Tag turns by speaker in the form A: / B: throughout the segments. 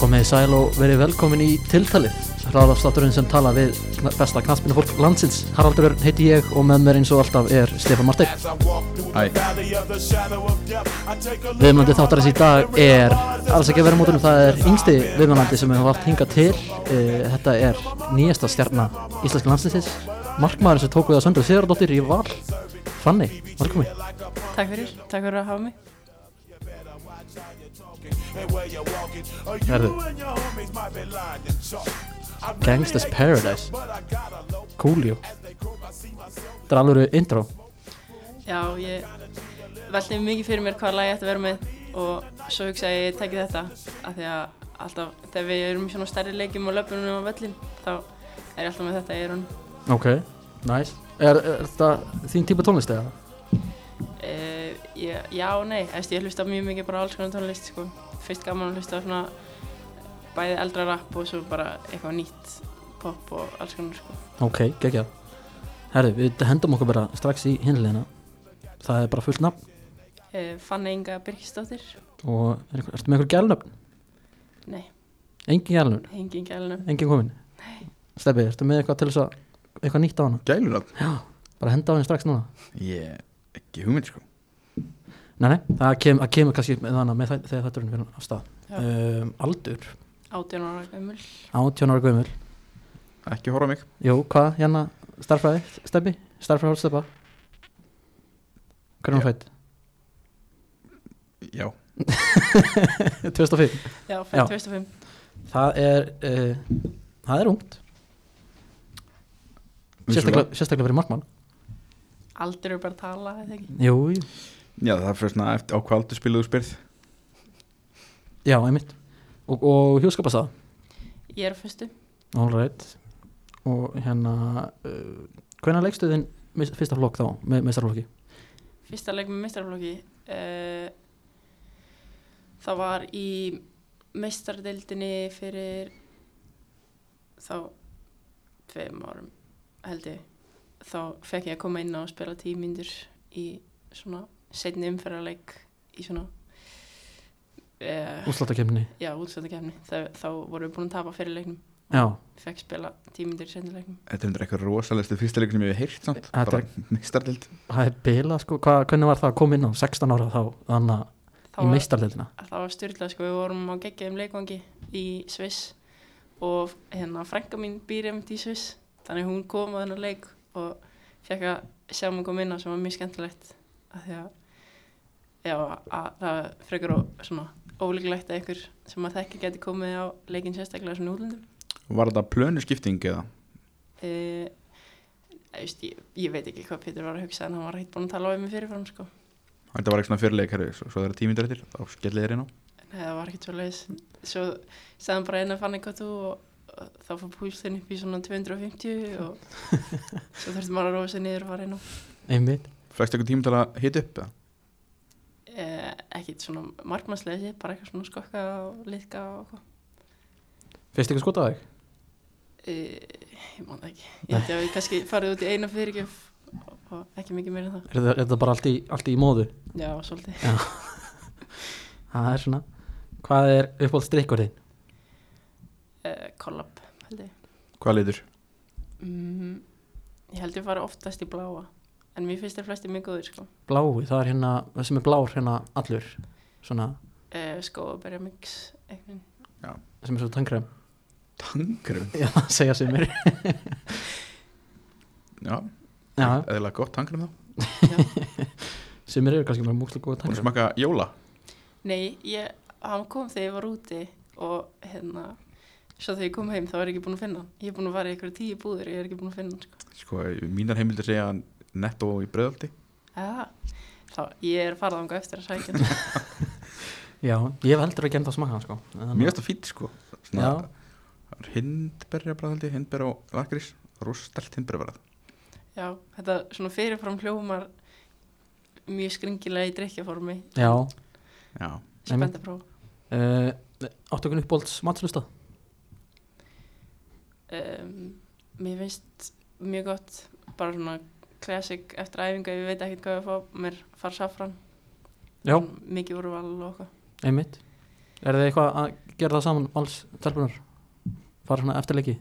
A: komið sæl og verið velkomin í tiltalið hraðarstátturinn sem tala við besta knaspinu fólk landsins Haraldur Örn heiti ég og með mér eins og alltaf er Stefán Marteinn
B: Æ,
A: Viðmjöndi þáttarins í dag er alls ekki að vera mótunum, það er yngsti viðmjöndi sem við höfum haft hingað til Eh, þetta er nýjasta stjarnar íslenska landslinsins markmaður sem tók við að söndu Sigurdóttir í val Fanni, velkomin
C: Takk fyrir, takk fyrir að hafa mig
A: Herðu Gangsta's Paradise Coolio Þetta er alveg intro
C: Já, ég veldi mikið fyrir mér hvaða lag ég ætti að vera með og svo hugsa ég að ég tæki þetta af því að alltaf, þegar við erum í svona stærri leikjum og löpunum á vellin þá er ég alltaf með þetta í eyrun
A: Ok, nice Er, er þetta þín típa tónlist eða?
C: e, ég, Já, og nei, eftir ég hlusta mjög mikið bara á alls konar tónlist sko. fyrst gaman að hlusta á svona bæði eldra rap og svo bara eitthvað nýtt pop og alls konar sko.
A: Ok, geggjað Herðu, við hendum okkur bara strax í hinleina Það er bara fullt nafn
C: e, Fanna Inga Birkisdóttir
A: og er, einhver- ertu með einhver gælnöfn?
C: Nei,
A: Engin gælnöfn,
C: hengi Inga Elnum
A: engin komin Stebbi, ertu með eitthvað til þess að eitthvað nýtt á hana?
B: gælunafn?
A: Bara henda á henni strax núna
B: Ég, ekki hugmynd sko
A: Nei, nei, það kem, það kemur kannski með hana með það, þegar þetta er fyrir af
C: Já.
A: stað um, Aldur,
C: 18 ára gömul
A: 18 ára gömul
B: Ekki horfa á mig
A: Jú, hvað, hérna, starfræði, stebbi, starfræði hálfsteppa Hvernig hún
B: Já.
A: fætt?
B: Já,
A: 2005
C: Já,
A: Já.
C: fyrir 2005
A: Það er, uh, það er ungt sérstaklega,
B: vissulega.
A: sérstaklega fyrir markmann
C: Aldur er bara að tala, eða ekki?
A: Jú, jú.
B: Já, það er fyrir svona eftir á hvað aldur spilaðu spyrð
A: já, einmitt Og, og hjúskapa það,
C: Ég er á fyrstu,
A: all right Og hérna, uh, hvenær leikstu þinn mis- fyrsta flokk þá, með mestarflokki?
C: fyrsta leik með meistarflokki. Uh, það var í meistardeildinni fyrir þá tveim árum, held ég. Þá fekk ég að koma inn á að spila tímyndur í svona setni umferðarleik í svona, uh,
A: Úslatakefni
C: já, útsvöndakefni. Þá vorum við búin að tapa fyrir leiknum,
A: Já,
C: fekk spila tímyndur í setni leiknum.
B: Þetta er eitthvað rosalegstu fyrsta leikunum ég hef heyrt samt
A: Þetta er-
B: Bara mistardild
A: það er bila sko, Hva, hvernig var það að koma inn á 16 ára þá, þannig
C: Þá
A: í
C: var-
A: meistarleilina
C: að það var styrlað sko, við vorum á geggjum leikvangi í Sviss og hérna frænka mín býr emt í Sviss þannig hún kom á þennan leik og fekk að sjá mig kom inn á sem var mjög skemmtilegt að því að já, að, það er frekar og svona ólíklegt að einhver sem að þekki geti komið á leikin sérstaklega svona útlöndum
B: Var þetta plönuskipting eða?
C: e, just, ég, ég veit ekki hvað Pétur var að hugsa en hann var hægt búin að tala á mig fyrirfram sko
B: Þetta var eitthvað svona fyrirleik herri Svo, svo það er tímyndur eftir, þá skellir þér inn á
C: Nei, það var ekkert svo leiðis. Svo sagðan bara einn að fann eitthvað þú og, og þá fór púlstinn upp í svona 250 og svo þurfti maður að róa sig niður og fara inn á.
A: einmitt,
B: Fækst eitthvað tíma til að hita upp eða?
C: Eh, ekkert svona markmannsleiði, bara eitthvað svona skokka og liðka og eitthvað.
A: fyrst ykkur skotaði þig?
C: Eh, ég man það ekki. Ég held ég að við kannski farið út í eina fyrirgjöf og, og ekki mikið meira en það.
A: Er þetta- er þetta bara allt í, allt í móðu?
C: Já, svolítið.
A: Það er svona, hvað er uppáld strikkur þinn?
C: Eh, Kollab, held ég.
B: Hvað litur?
C: Mm, ég held ég fara oftast í bláa, en mér finnst þér flesti mjög góðir, sko.
A: Blái, það er hérna, það sem er blár hérna allur, svona,
C: Eh, Skóaberja mix, eitthvað.
A: sem er svo tangrem
B: Tangrum
A: Já, það segja sem er
B: Já,
A: Já,
B: eðlilega gott tangrum þá
A: sem eru kannski bara múkslega góða
B: Búin að
A: tangrem
B: smaka jóla
C: Nei, ég, hann kom þegar ég var úti og hérna, svo þegar ég kom heim þá er ég ekki búin að finna hann. Ég er búin að fara í einhverju tíu búðir, ég er ekki búin að finna hann, sko.
B: Sko, mínar heimildir segja hann netto í bröðaldi
C: Eða, þá, ég er farað ánga eftir að sækja hann.
A: Já, ég hef heldur ekki enda að smaka hann sko Þannig-
B: Mjög þetta fýtt sko
A: Já,
B: Svona- Það er hindberja bræðaldi, hindberja og lakrís Rústelt hindberja bræð
C: Já, þetta svona fyrirfram hljómar mjög skringilega í drikkjaformi.
A: já
B: Já,
C: Spennt að prófa.
A: uh, Áttu okkur uppáld matslustað?
C: Um, mér finnst mjög gott, bara svona classic eftir æfingu, ég veit ekkert hvað ég fá, mér far safran.
A: Já,
C: Mikið úrval og eitthvað.
A: einmitt Er þið eitthvað að gera það saman alls telpunar? Fara svona eftirleiki?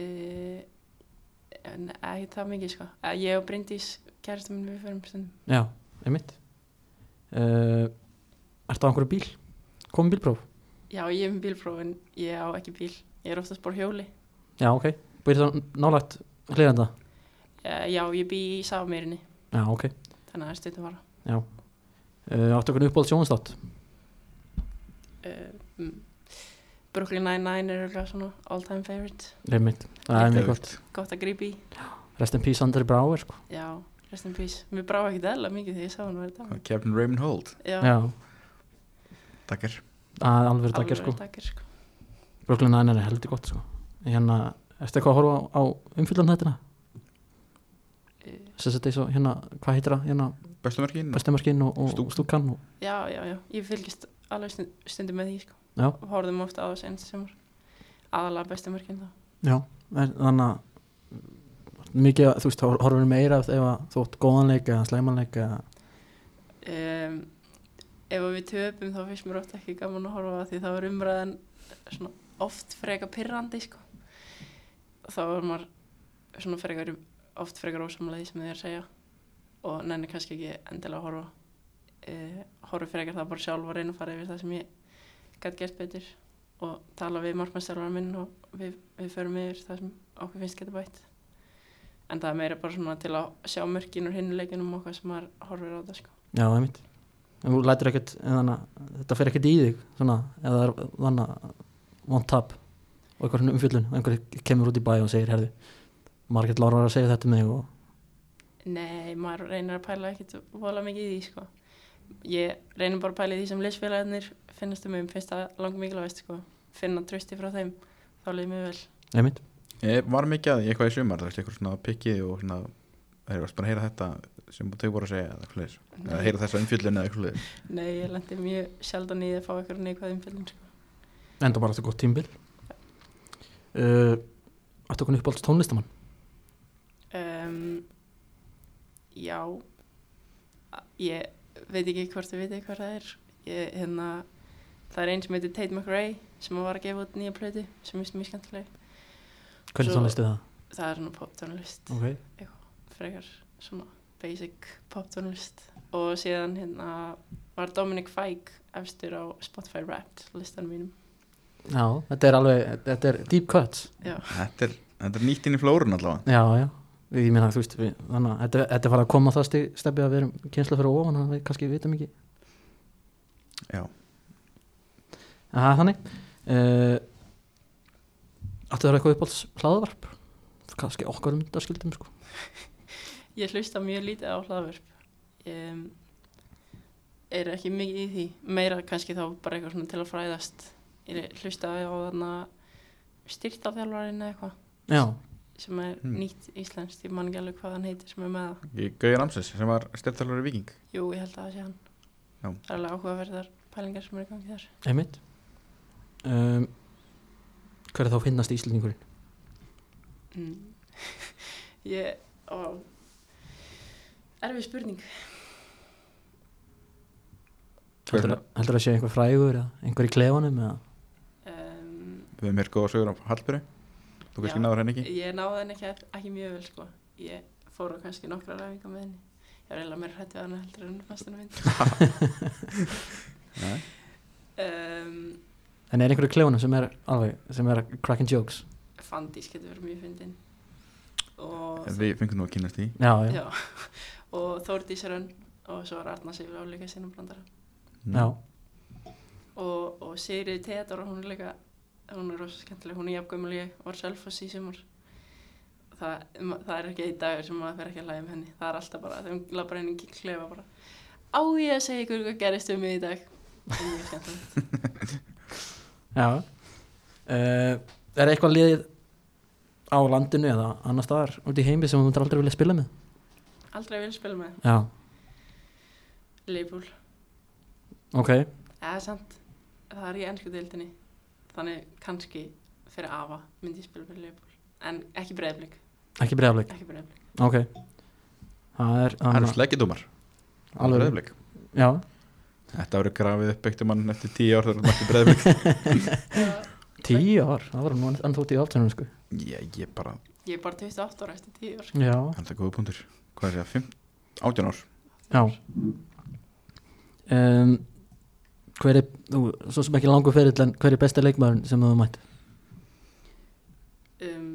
C: uh, en ekki það mikið sko Eh, ég og Bryndís kærasta minn við förum stundum
A: Já, einmitt uh, Ertu á einhverju bíl? Komum bílpróf?
C: já ég er með bílpróf en ég á ekki bíl ég er oftast bara á hjóli
A: Já, ok Búið það nálægt hlýðenda?
C: uh, já ég bý í Safamýrinni
A: Já, ok uh,
C: þannig að það er stundum vara
A: Áttu einhvern uppbóð sjónastátt?
C: uh, mm, Brooklyn Nine-Nine er eitthvað svona all time favorite
A: Einmitt Það er mjög gott
C: gott að grípa í
A: Rest in peace Andri Bráir sko.
C: já rest in peace mér brá ekkert eðla mikið þegar ég sá hann verið dag
B: Captain Raymond Holt,
C: já,
A: Já,
B: takkir
A: það er alveg verið
C: alveg
A: dagir sko
C: dagir sko
A: Brooklyn Nine-Nine er heldur gott sko Hérna, ertu eitthvað að horfa á, á umfyllan þetta?
C: Eh,
A: Sess að þetta er svo, hérna, hvað heitir það? Hérna,
B: Bestumörkin,
A: bestemörkin og, og
B: Stúkan.
A: stúkan og,
C: já já já ég fylgist alveg stund, stundum með því sko
A: Já.
C: og horfðum ofta á þessu ennst semur aðalega bestu mörkin þá
A: Já, er, þannig að mikið, að- þú veist, hor- horfir meira ef ef að þú átt góðanleik eða slæmanleik eða,
C: um, ef við töpum þá finnst mér ofta ekki gaman að horfa á því þá er umræðan svona oft frekar pirrandi sko. þá er maður svona frekar oft frekar ósamlega því sem þið er að segja og nenni kannski ekki endilega að horfa uh, horfa frekar það bara sjálf og reyna að fara yfir það sem ég gæti gert betur og tala við markmannstjálfara minn og við, við förum yfir það sem okkur finnst geta bætt en það er meira bara svona til að sjá mörkin úr hinnuleikunum okkar sem maður horfir á það sko.
A: já, það er mitt. En þú lætir ekkert, en þannig að þetta fer ekkert í þig, svona, eða það er þannig að one tap og eitthvað svona umfyllun, og einhver kemur út í bæ og segir, herðu, Margrét Lára var að segja þetta með þig og,
C: Nei, maður reynir að pæla ekkert vola mikið í því, sko. Ég reynir bara að pæla í því sem leysfélagarnir finnast um um, finnst það langt mikilvægst, sko. Finna trösti frá þeim, þá leiði mér vel.
A: nei mitt,
B: Ég var mikið að því eitthvað í sumar, það er eitthvað svona pikkið og svona, það er bara að heyra þetta sem þau voru að segja eða eitthvað leis eða heyra þessa umfjöllun eða eitthvað leis
C: Nei, ég lendi mjög sjaldan í að fá eitthvað neikvæð umfyllum, sko.
A: enda bara þetta gott tímbil. Uh, Ættu okkur uppáhalds tónlistamann?
C: Um, já, A- ég veit ekki hvort þið veitir hvað það er. Ég, hérna, það er einn sem heitir Tate McRae sem var að gefa út nýja plötu sem finnst mjög skemmtileg.
A: Hvernig
C: Svo-
A: tónlistu það?
C: Það er hann poptónlist.
A: Okay.
C: frekar svona basic poptónlist og síðan hérna var Dominic Fike efstur á Spotify Wrapped listanum mínum
A: Já, þetta er alveg, þetta er deep cuts.
B: Þetta er, þetta er nýtt inn í flórun allavega
A: Já, já, ég meina þú veist við, þannig að þetta, þetta var að koma á það stig- stefni að við erum kynsla fyrir ofan, þannig að við kannski vitum ekki
B: Já,
A: Aha, þannig uh, Ættu það eitthvað uppáhalds hlaðvarp kannski okkar um þetta skildum sko
C: ég hlusta mjög lítið á hlaðvörp um, er ekki mikið í því meira kannski þá bara eitthvað svona til að fræðast ég hlusta á þarna styrtaþjálfarinn eða eitthvað
A: Já,
C: sem er
B: Hmm.
C: nýtt íslenskt ég man ekki alveg hvað hann heitir sem er með það
B: Í Gauja Ramses sem var stefnþjálfur í Viking
C: jú ég held að það sé hann
B: Já.
C: það er alveg áhugaverðar pælingar sem er í gangi þar
A: einmitt um, Hver er þá finnast íslendingurinn?
C: Mm. Ég, á, erfið spurning.
B: Hver er
A: Heldur það að sé einhver frægur eða einhver í klefanum eða
C: Um,
B: Við höfum hér góða sögur á Hallbyrju Þú kannski
C: Já.
B: náður henni ekki
C: ég náði henni ekki, ekki mjög vel, sko. Ég fór á kannski nokkra ræfingar með henni. Ég var eiginlega meira hrætt við henni heldur en fastunum minn.
B: Nei.
C: Um,
A: En er einhver í klefanum sem er alveg, sem er cracking jokes?
C: Fandís getur verið mjög fyndin. Og,
B: En Við fengum nú að kynast því
A: Já, já,
C: já, og Þórdís Rönn og svo var Arna Sigla og líka sinum blandara.
A: já.
C: og, og Sigriði Teodora hún er líka hún er rosa skemmtileg, hún er jafngömmul ég var selfoss í sumar það, ma- það er ekki einn dagur sem maður fer ekki að lægja um henni það er alltaf bara, þeim labbar henni ekki klefa bara á ég að segja ykkur hvað gerist um mig í dag það er mjög skemmtilegt
A: Já uh, Er eitthvað liðið á landinu eða annar staðar út í heimi sem þú myndir aldrei vilja spila með?
C: aldrei vil spila með
A: Já,
C: Leifúl,
A: ok
C: eða samt það er í ennsku deildinni þannig kannski fyrir afa myndi ég spila með Leifúl en ekki breyðblik,
A: Ekki breyðafleik,
C: ekki breyðblik
A: ok Það er
B: Það
A: annað-
B: eru sleggjadómar
A: alveg-
B: Breiðablik.
A: Já
B: Þetta verður grafið upp eftir mann eftir tíu ár þegar hann mætti breyðblik
A: Tíu ár, það var nú ennþá tíu áttunum sko
B: Ég, ég bara,
C: Ég er bara 28 ára eftir 10 ár.
A: Já,
B: hann er góða punktur Hvað er það, fimm? Átján ár
A: já um, Hver er, þú, svo sem ekki langur ferill en hver er besti leikmaðurinn sem þú mætt?
C: Um,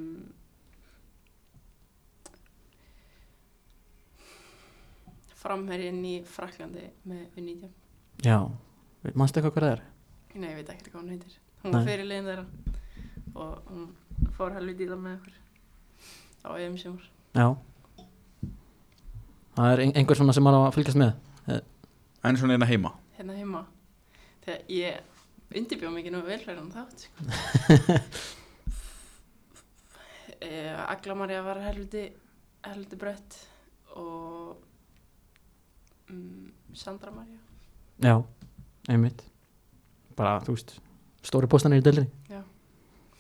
C: framherjinn í Fraklandi með U19.
A: Já, mannstu eitthvað hver það er?
C: Nei, ég veit ekkert hvað hún heitir. Hún var
A: Nei.
C: fyrir leginn þeirra og hún fór helviti í það með okkur á EM sumar.
A: Já Það er ein- einhver svona sem maður á að fylgjast með
B: En svona eina heima
C: Hérna heima. Þegar ég undirbjóð mikið nú vel fyrir hann þátt. Sko. uh, Agla Maria var helviti, helviti brött og um, Sandra Maria.
A: Já, einmitt Bara, þú veist, stóri póstanir í delinni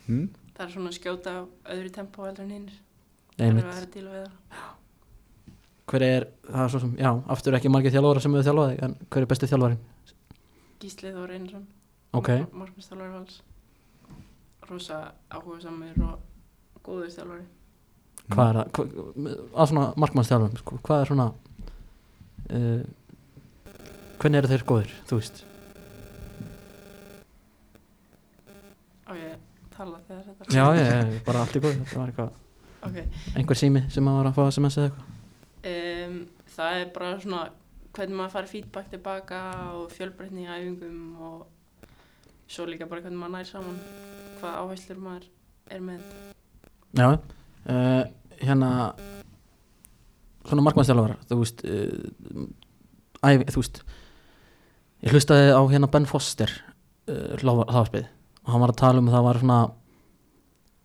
B: hm?
C: Það er svona að skjóta á öðru tempó heldur en hinnir. Það er að
A: Einmitt
C: vera til við það.
A: Hver er, það er svo sem, já, aftur ekki margir þjálfara sem hefur þjálfaði En hver er besti þjálfarin?
C: Gíslið og Reynarsson.
A: Ok,
C: Markmannstjálfari vals. Rosa áhuga samir og góður stjálfari.
A: hvað er það? Hva, að svona markmannstjálfarin, sko, hvað er svona uh, Hvernig eru þeir góðir, þú veist?
C: Á ég að tala þegar þetta.
A: Já, já, já, bara allt er góð Þetta var eitthvað,
C: Ok.
A: einhver sími sem maður var að fá SMS eða eitthvað
C: Um, það er bara svona hvernig maður fær feedback tilbaka og fjölbreytni í æfingum og svo líka bara hvernig maður nær saman hvað áherslur maður er með.
A: Já, uh, hérna svona markmannstjálfara þú veist uh, æ, þú veist ég hlustaði á hérna Ben Foster uh, hláðarspið og hann var að tala um að það var svona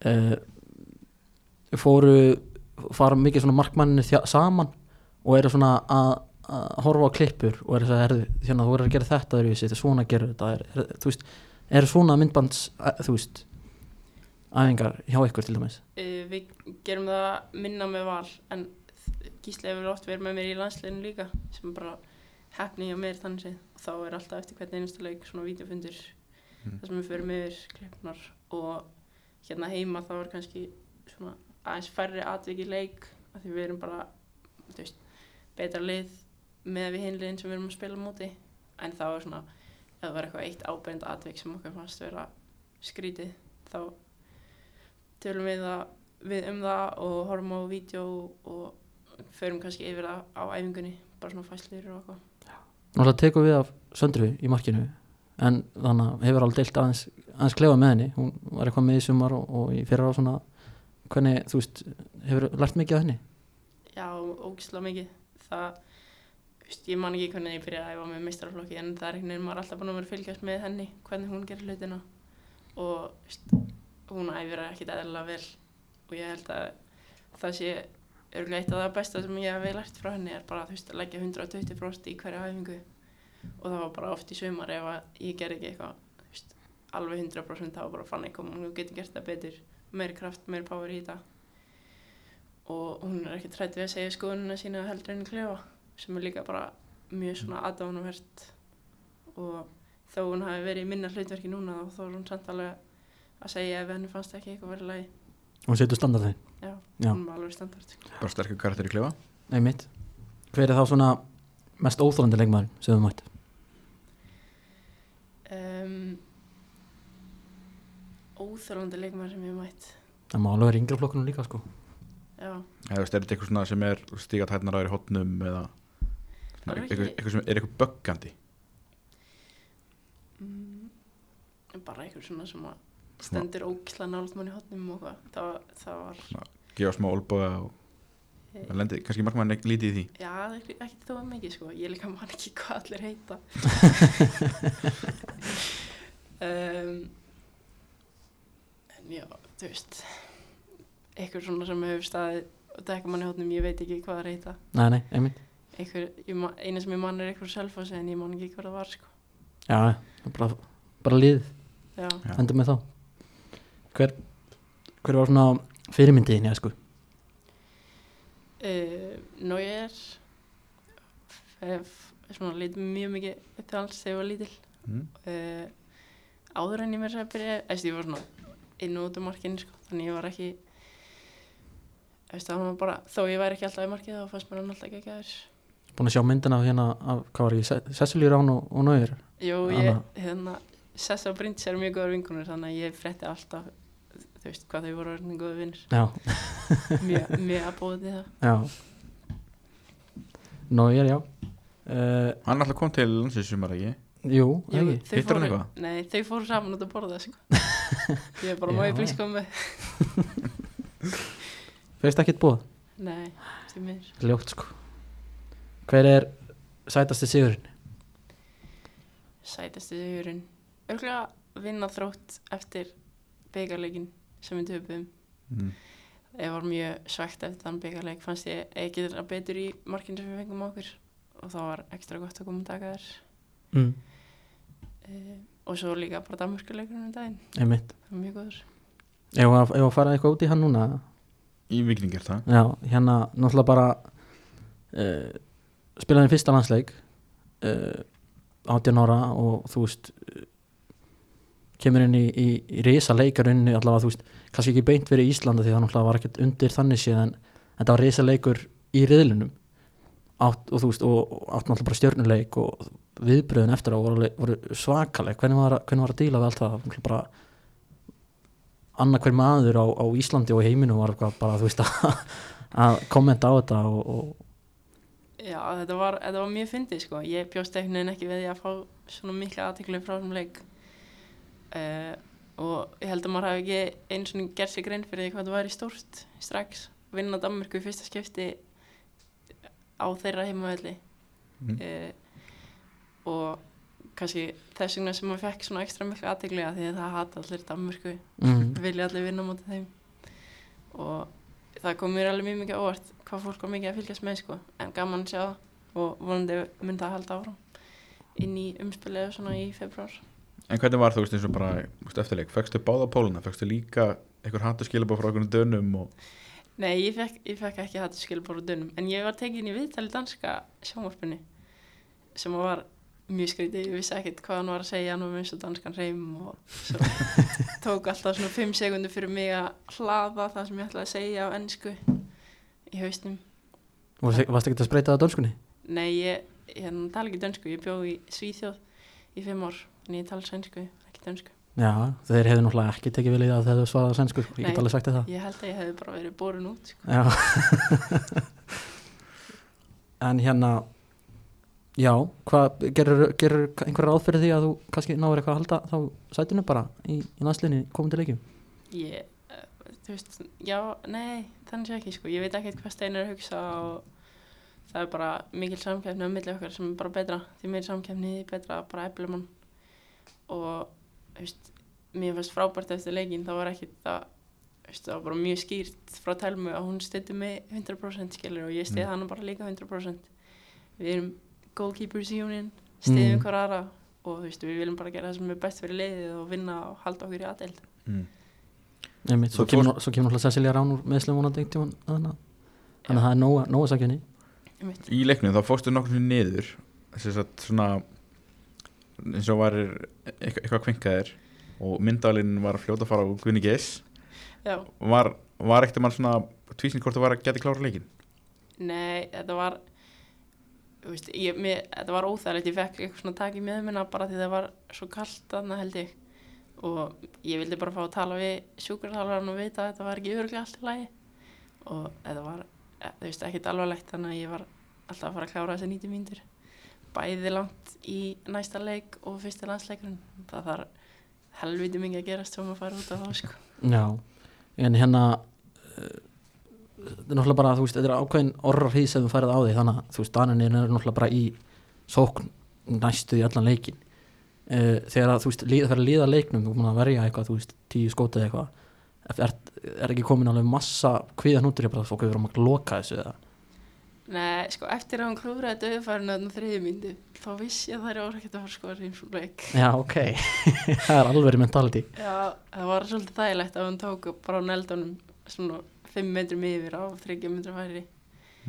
A: uh, fóru fara mikið svona markmanninu þjá- saman og eru svona að að horfa á klippur og eru þess að herðu hérna þú verður að gera þetta öðruvísi, þetta er svona að gera þetta er, er, þú veist, eru svona myndbands að, þú veist, æfingar hjá ykkur til dæmis
C: Uh, við gerum það minna með val en Gísli hefur oft verið með mér í landsleginu líka sem er bara hefni hjá mér þannig séð og þá er alltaf eftir hvern einasta leik svona vídeofundur
B: Mm.
C: þar sem við förum yfir klippnar og hérna heima þá er kannski svona aðeins færri atvik í leik af því við erum bara þú veist, betra lið með við hinliðin sem við erum að spila á móti en þá er svona ef það var eitthvað eitt ábend atvik sem okkur fannst vera skrítið þá tölum við, það, við um það og horfum á vídeo og förum kannski yfir það á æfingunni bara svona fæslir og eitthvað
A: Náttúrulega tekum við af Söndru í markinu en þannig að hefur alveg deilt aðeins, aðeins klefa með henni, hún var eitthvað með í sumar og, og í fyrra á svona hvernig, þú veist, hefur lært mikið af henni
C: já, ógislega mikið það, þú veist, ég man ekki hvernig ég byrjaði að æfa með meistaraflokki en það er einhvern veginn maður er alltaf búin að vera að fylgjast með henni hvernig hún gerir hlutina og þú veist, hún æfir ekkit eðlilega vel og ég held að það sé örgulega eitt af það besta sem ég hef lært frá henni er bara þú veist, að leggja 120% í hverja æfingu og það var bara oft í sumar ef að ég ger ekki eitthvað þú veist, alveg 100% þá var bara fann eitthvað hún getur gert það betur, meir kraft, meir power í þetta og hún er ekkert hrætt við að segja skoðunina sína heldur en klefa sem er líka bara mjög svona aðdánumvert og þó hún hafi verið í minna hlutverki núna og þá er hún samt alveg að segja ef henni fannst ekki eitthvað verið lægi
A: hún setur standardin,
C: já,
A: Já.
C: hún var alveg standart sko.
B: Bara sterkur karakter í klefa
A: nei mitt hver er þá svona mest óþólandi leikmaður sem þú mætt
C: um, óþjólandi leikmaður sem ég hef mætt
A: það má alveg vera í yngra flokkunum líka sko
C: já,
B: Eða þú veist, er þetta eitthvað svona sem er stígatætnar aðra í hotnum eða
C: Það er ekki-
B: eitthvað, eitthvað sem er eitthvað böggandi
C: mm, bara einhver svona sem að
B: Svona-
C: stendur ókisla nált mann í hotnum og hvað það, var- það var,
B: gefa smá olboga og
C: Hey.
B: og lendi, kannski markmann ekki lítið í því
C: já, ekki, ekki þó mikið sko ég líka man ekki hvað allir heita um, en já, þú veist einhver svona sem hefur staðið og dekka mann í hotnum, ég veit ekki hvað það reyta
A: nei, nei, einmitt,
C: einhver, ég man- eina sem ég man er einhver selfos en ég man ekki hvað það var sko
A: já, já, bara, bara lið
C: já,
B: Já.
A: endur með þá hver, hver var svona fyrirmyndið þín, já sko
C: Eh, uh, Nóir svona lítið mjög mikið upp til alls þegar ég var lítil
B: Mm.
C: uh, áður en ég mér sér að byrja eða ég var svona inn og út um markinu sko. þannig ég var ekki eftir, var bara, þó ég væri ekki alltaf í markið þá fannst mér hann alltaf ekki að þér
A: Búin að sjá myndina af hérna af, hvað var ekki, Cecily Rán og, og Nauður
C: Jú,
A: Anna.
C: ég, hérna, Sessa og Bryndís er mjög góður vingunir þannig að ég frétti alltaf þú veist hvað þau voru orðin góður vinnir
A: Já,
C: mjög, mjög að bóða til það
A: já Nauður, já uh,
B: Hann alltaf kom til landsins sumar ekki
A: Jú, eða ekki
C: þau
B: Hittir hann
C: fóru-
B: eitthvað?
C: Nei, þau fóru saman út að borða sko. ég er bara
A: Já.
C: má ég plís koma með
A: Feist ekkert búið,
C: Nei, því miður
A: ljótt sko Hver er sætasti sigurinn?
C: sætasti sigurinn örgulega vinna þrótt eftir byggarleikin sem við töpum
B: mm.
C: ég var mjög svegt eftir þann byggarleik fannst ég ekki þeirra betur í markinu sem við fengum á okkur og það var ekstra gott að koma að taka þér
A: Mm.
C: uh, og svo líka bara Danmarkuleikurinn um daginn
A: Einmitt
C: það var mjög góður
A: Ef að, ef að fara eitthvað út í hann núna
B: Í vikningir það
A: Já, hérna náttúrulega bara uh, spilaði fyrsta landsleik uh, 18 ára og þú veist uh, kemur inn í, í, í risa leikarunni allavega þú veist, kannski ekki beint verið í Íslanda því það náttúrulega var ekkert undir þannig síðan en þetta var risa leikur í riðlunum átt, og þú veist, og, og átt náttúrulega bara stjörnuleik og viðbröðin eftir á voru, alveg- voru svakaleg, hvernig var, að- hvernig var að díla við allt það, náttúrulega bara annar hver maður á, á Íslandi og í heiminum var eitthvað bara, þú veist, að að kommenta á þetta og, og
C: já þetta var, þetta var mjög fyndið sko ég bjóst einhvern veginn ekki við því að fá svona mikla aðtekli frá þessum leik uh, og ég held að maður hafi ekki eins og gerð sér grein fyrir því hvað það væri stórt strax vinna Danmarku í fyrsta skipti á þeirra heimavelli
B: mm.
C: uh, og kannski þess vegna sem maður fekk svona ekstra mikla aðtekli að því að það hata allir Danmarku
A: mm,
C: vilja allir vinna mútið þeim og það kom mér alveg mjög mikið á óvart hvað fólk var mikið að fylgjast með sko en gaman að sjá það og vonandi mun það halda áfram inn í umspilið og svona í februar
B: En hvernig var þú veist eins og bara þú veist, eftirleik Fekstu báða póluna, fekstu líka einhver hattu skilabóð frá okkur dönum og
C: Nei, ég fekk, ég fekk ekki hattu skilbóru dönum en ég var tekin í viðtali danska sjónvarpinu sem var mjög skrítið, ég vissi ekkert hvað hann var að segja hann var með eins og danskan reym og svo tók alltaf svona 5 sekundur fyrir mig að hlaða það sem ég ætlaði að segja á ennsku í haustum
A: og varst ekki að spreita það á dönskunni?
C: Nei, ég hérna, tala ekki dönsku, ég bjó í Svíþjóð í fimm ár, en ég tala sænsku, ekki dönsku.
A: Já, þeir hefðu náttúrulega ekki tekið vel í það þegar þau svaraði sænsku, sko. ég
C: Nei.
A: get alveg sagt þér það
C: Ég held að ég hefði bara verið borun út. Sko.
A: Já En hérna Já, hvað gerur, gerur einhver ráð fyrir því að þú kannski náir eitthvað að halda þá sætinu bara í, í landslinni komandi leikjum?
C: Ég, eh, þú veist, já, nei, þannig sé ekki, sko. Ég veit ekkert hvað Stein er að hugsa og það er bara mikil samkeppni á milli okkar sem er bara betra. Því meir samkeppni, því betra, bara eflum hann. Og, þú veist, mér fannst frábært eftir leikinn, það var ekkert að, þú veist, það var bara mjög skýrt frá telmu að hún styrti mig 100% skilur og ég styrði
B: Mm.
C: mm. bara líka 100%. við erum goalkeepers union stiðum
A: Mm.
C: mm. hver aðra og þú veist, við viljum bara gera það sem er best fyrir liðið og vinna og halda okkur í aðeild
B: mm.
A: Einmitt, svo,
B: Þú
A: kemur, svo kemur náttúrulega Cecilia Rán úr meðslum vonandi einhvern tímann þarna. þannig að það er nóg, að- nóg að sakja henni
B: Í leiknum þá fórstu nokkur sinnum niður Þess að svona eins og varir eitthvað, eitthvað kvinkaðir og myndalinn var að fljóta að fara á Guðni Geis
C: Já,
B: Var, var ekkert mann svona tvísinn hvort þú var að geta klára leikin
C: nei, þetta var þú veist, ég, mér, þetta var óþægilegt ég fekk eitthvað svona tak í meðmynda bara því það var svo kalt þarna held ég og ég vildi bara fá að tala við sjúkurþjálfarinn og vita að þetta var ekki öruglega allt í lagi og þetta var, eh, þú veist, ekkert alvarlegt þannig að ég var alltaf að fara að klára þessi 90 mínútur bæði langt í næsta leik og fyrsta landsleikurinn það þarf helviti mingi að gerast sem að fara út af þá sko
A: Já, en hérna eh, þetta er náttúrulega bara, þú veist, þetta er ákveðin orrarhýð sem þú færið á því þannig að þú veist, Daninir er náttúrulega bara í sókn næstu í allan leikin uh, þegar að þú veist, líða, fyrir að líða leiknum þú er búin að verja eitthvað, þú veist, tíu skótið eitthvað er, er ekki komin alveg massa kvíðan út í bara fólk við erum að loka þessu eða
C: Nei, sko, eftir að hún klúraði döðfærinu þannig þriði myndu, þá vissi ég að það er orðið að fara að skora eins og leik.
A: Já, ok, það er alveg mentality
C: Já, það var svolítið þægilegt að hún tók bara á neldunum svona fimm metrum yfir á þryggja metrum færi.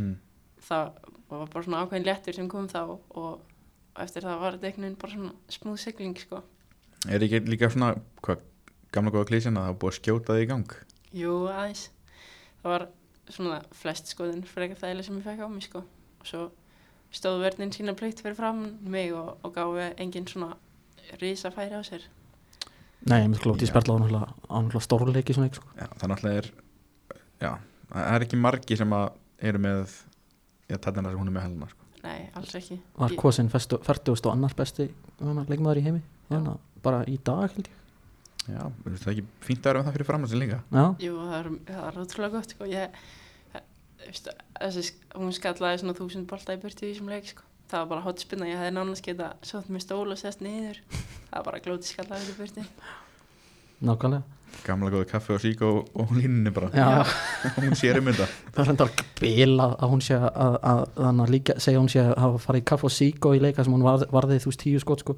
B: mm.
C: Það var bara svona ákveðin léttur sem kom þá og og eftir það var þetta einhvern veginn bara svona smúð sigling sko
B: Er ekki líka svona, hvað, gamla góða klísjan að það er búið að skjóta þig í gang?
C: Jú, aðeins. Það var svona flest skoðin frekar þægilega sem ég fekk á mig sko. Og svo stóð verðin sína plögt fyrir fram mig og, og gáði engin svona risa færi á sér.
A: Nei, ég myndi glóti í
B: Já.
A: sperla á náttúrulega- á náttúrulega stórleiki svona ekki sko.
B: Já, það náttúrulega er, já, það er ekki margi sem að eru með, já, tætnarna sem hún er með helna, sko.
C: Nei, alls ekki.
A: Var
C: Ég-
A: kosin færtugust og annar besti um, leikmaður í heimi
C: Já.
A: Þannig að bara í dag held ég
B: Já, þú veist það er ekki fínt að vera með það fyrir framhansin líka.
A: Já,
C: Jú, það er, það er ótrúlega gott sko. Ég, þú veist, þessi, sk- hún skallaði svona þúsund bolta í burtu í þessum leik sko. Það var bara hotspinna, ég hefði nánast geta sótt með stól og sest niður. Það var bara glóti skallaði í burtu.
A: nákvæmlega
B: Gamla góða kaffe og sík og, og línunni bara,
A: Já,
B: hún sér um þetta.
A: það er reyndar bilað að hún sé að, að, að, að líka, segja að hún sé að hafa farið í kaff og sík og í leika sem hún varði, varði þú veist tíu skot sko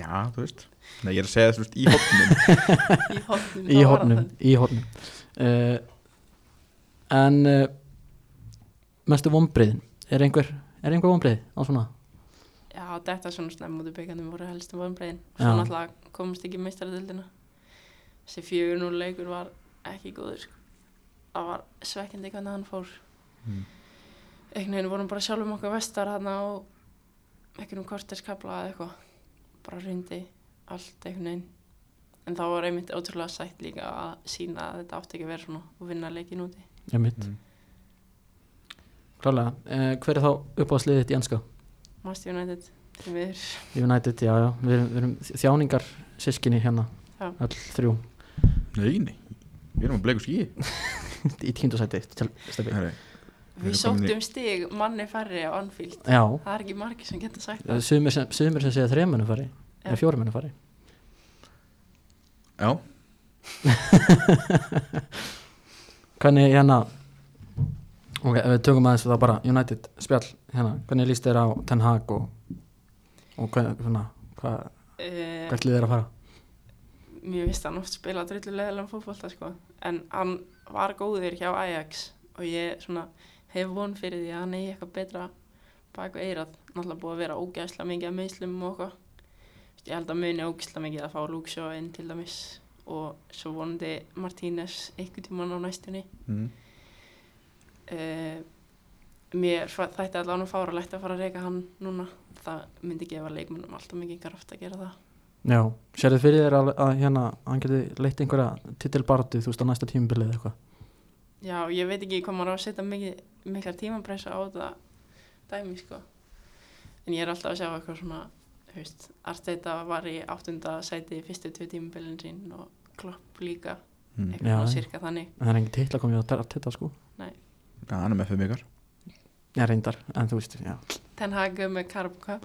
B: Já, þú veist, nei, ég er að segja þess, þú veist, í hopnum.
A: í
C: Í hornum. þá var
A: hornum,
C: það.
A: í hornum. Uh, en uh, mestu vonbriðin er einhver, er einhver vonbrið á svona
C: Já, þetta svona snemma út í byggandum voru helstu vonbreiðin og
A: Já.
C: svo náttúrulega komist ekki meistaradöldina þessi fjögur núl leikur var ekki góður sko. það var svekkjandi hvernig hann fór
B: Mm.
C: einhvern veginn vorum bara sjálfum okkar vestar hann á einhvern korterskabla eða eitthvað bara rundi allt einhvern veginn en þá var einmitt ótrúlega sætt líka að sína að þetta átti ekki að vera svona og vinna leikin úti
A: ég mitt,
B: Mm.
A: klálega uh, hver er þá uppáðsliðið þitt í enska?
C: Master United, því miður
A: United, já, já, við erum, við erum þjáningar sískinni hérna,
C: Já.
A: öll þrjú
B: Nei, nei, við erum að bleiku skýi.
A: í tíndasæti, stefni
B: Herri, Við
C: við
B: erum komin í-
C: sóttum stig manni færri á Anfield
A: já,
C: það er ekki margir sem geta sagt
A: það
C: það
A: er sumir sem, sumir sem segja þrejum munum fari,
C: Já.
A: eða fjórum munum fari
B: já,
A: hvernig hérna ok, ef við tökum aðeins þá bara United spjall hérna, hvernig líst þér á Ten Hag og, og hvernig, svona, hvað,
C: Eh,
A: hvert lið er að fara
C: mér finnst hann oft spila drullulegilega fótbolta sko. en hann var góður hjá Ajax og ég svona, hef von fyrir því að hann eigi eitthvað betra baku eirað, náttúrulega búið að vera ógæsla mikið að meðslum og okkar ég held að muni ógæsla mikið að fá Lúksjó inn til dæmis og svo vonandi Martínez einhvern tímann á næstunni
B: mm.
C: uh, mér fa- þætti allan að fára að fara að reyka hann núna það myndi gefa leikmönnum alltaf mikið kraft að gera það
A: já, sérðu fyrir þér að, að hérna, hann geti leitt einhverja titilbaratu þú veist á næsta tímubilið eitthvað
C: Já, ég veit ekki hvað maður á að setja mikið, mikla tímapressa á þetta dæmi, sko. En ég er alltaf að sjá eitthvað svona, þú veist, Arteta var í áttunda sæti í fyrstu tvö tímabilin sín og Klopp líka,
B: Mm.
A: Já,
C: eitthvað
A: já.
C: svona sirka þannig.
A: en það er engin titla komið á þetta sko
B: Já, hann er með fyrir mikar.
A: já, reyndar, en þú veist, já
C: Ten Hag með Carb Cup,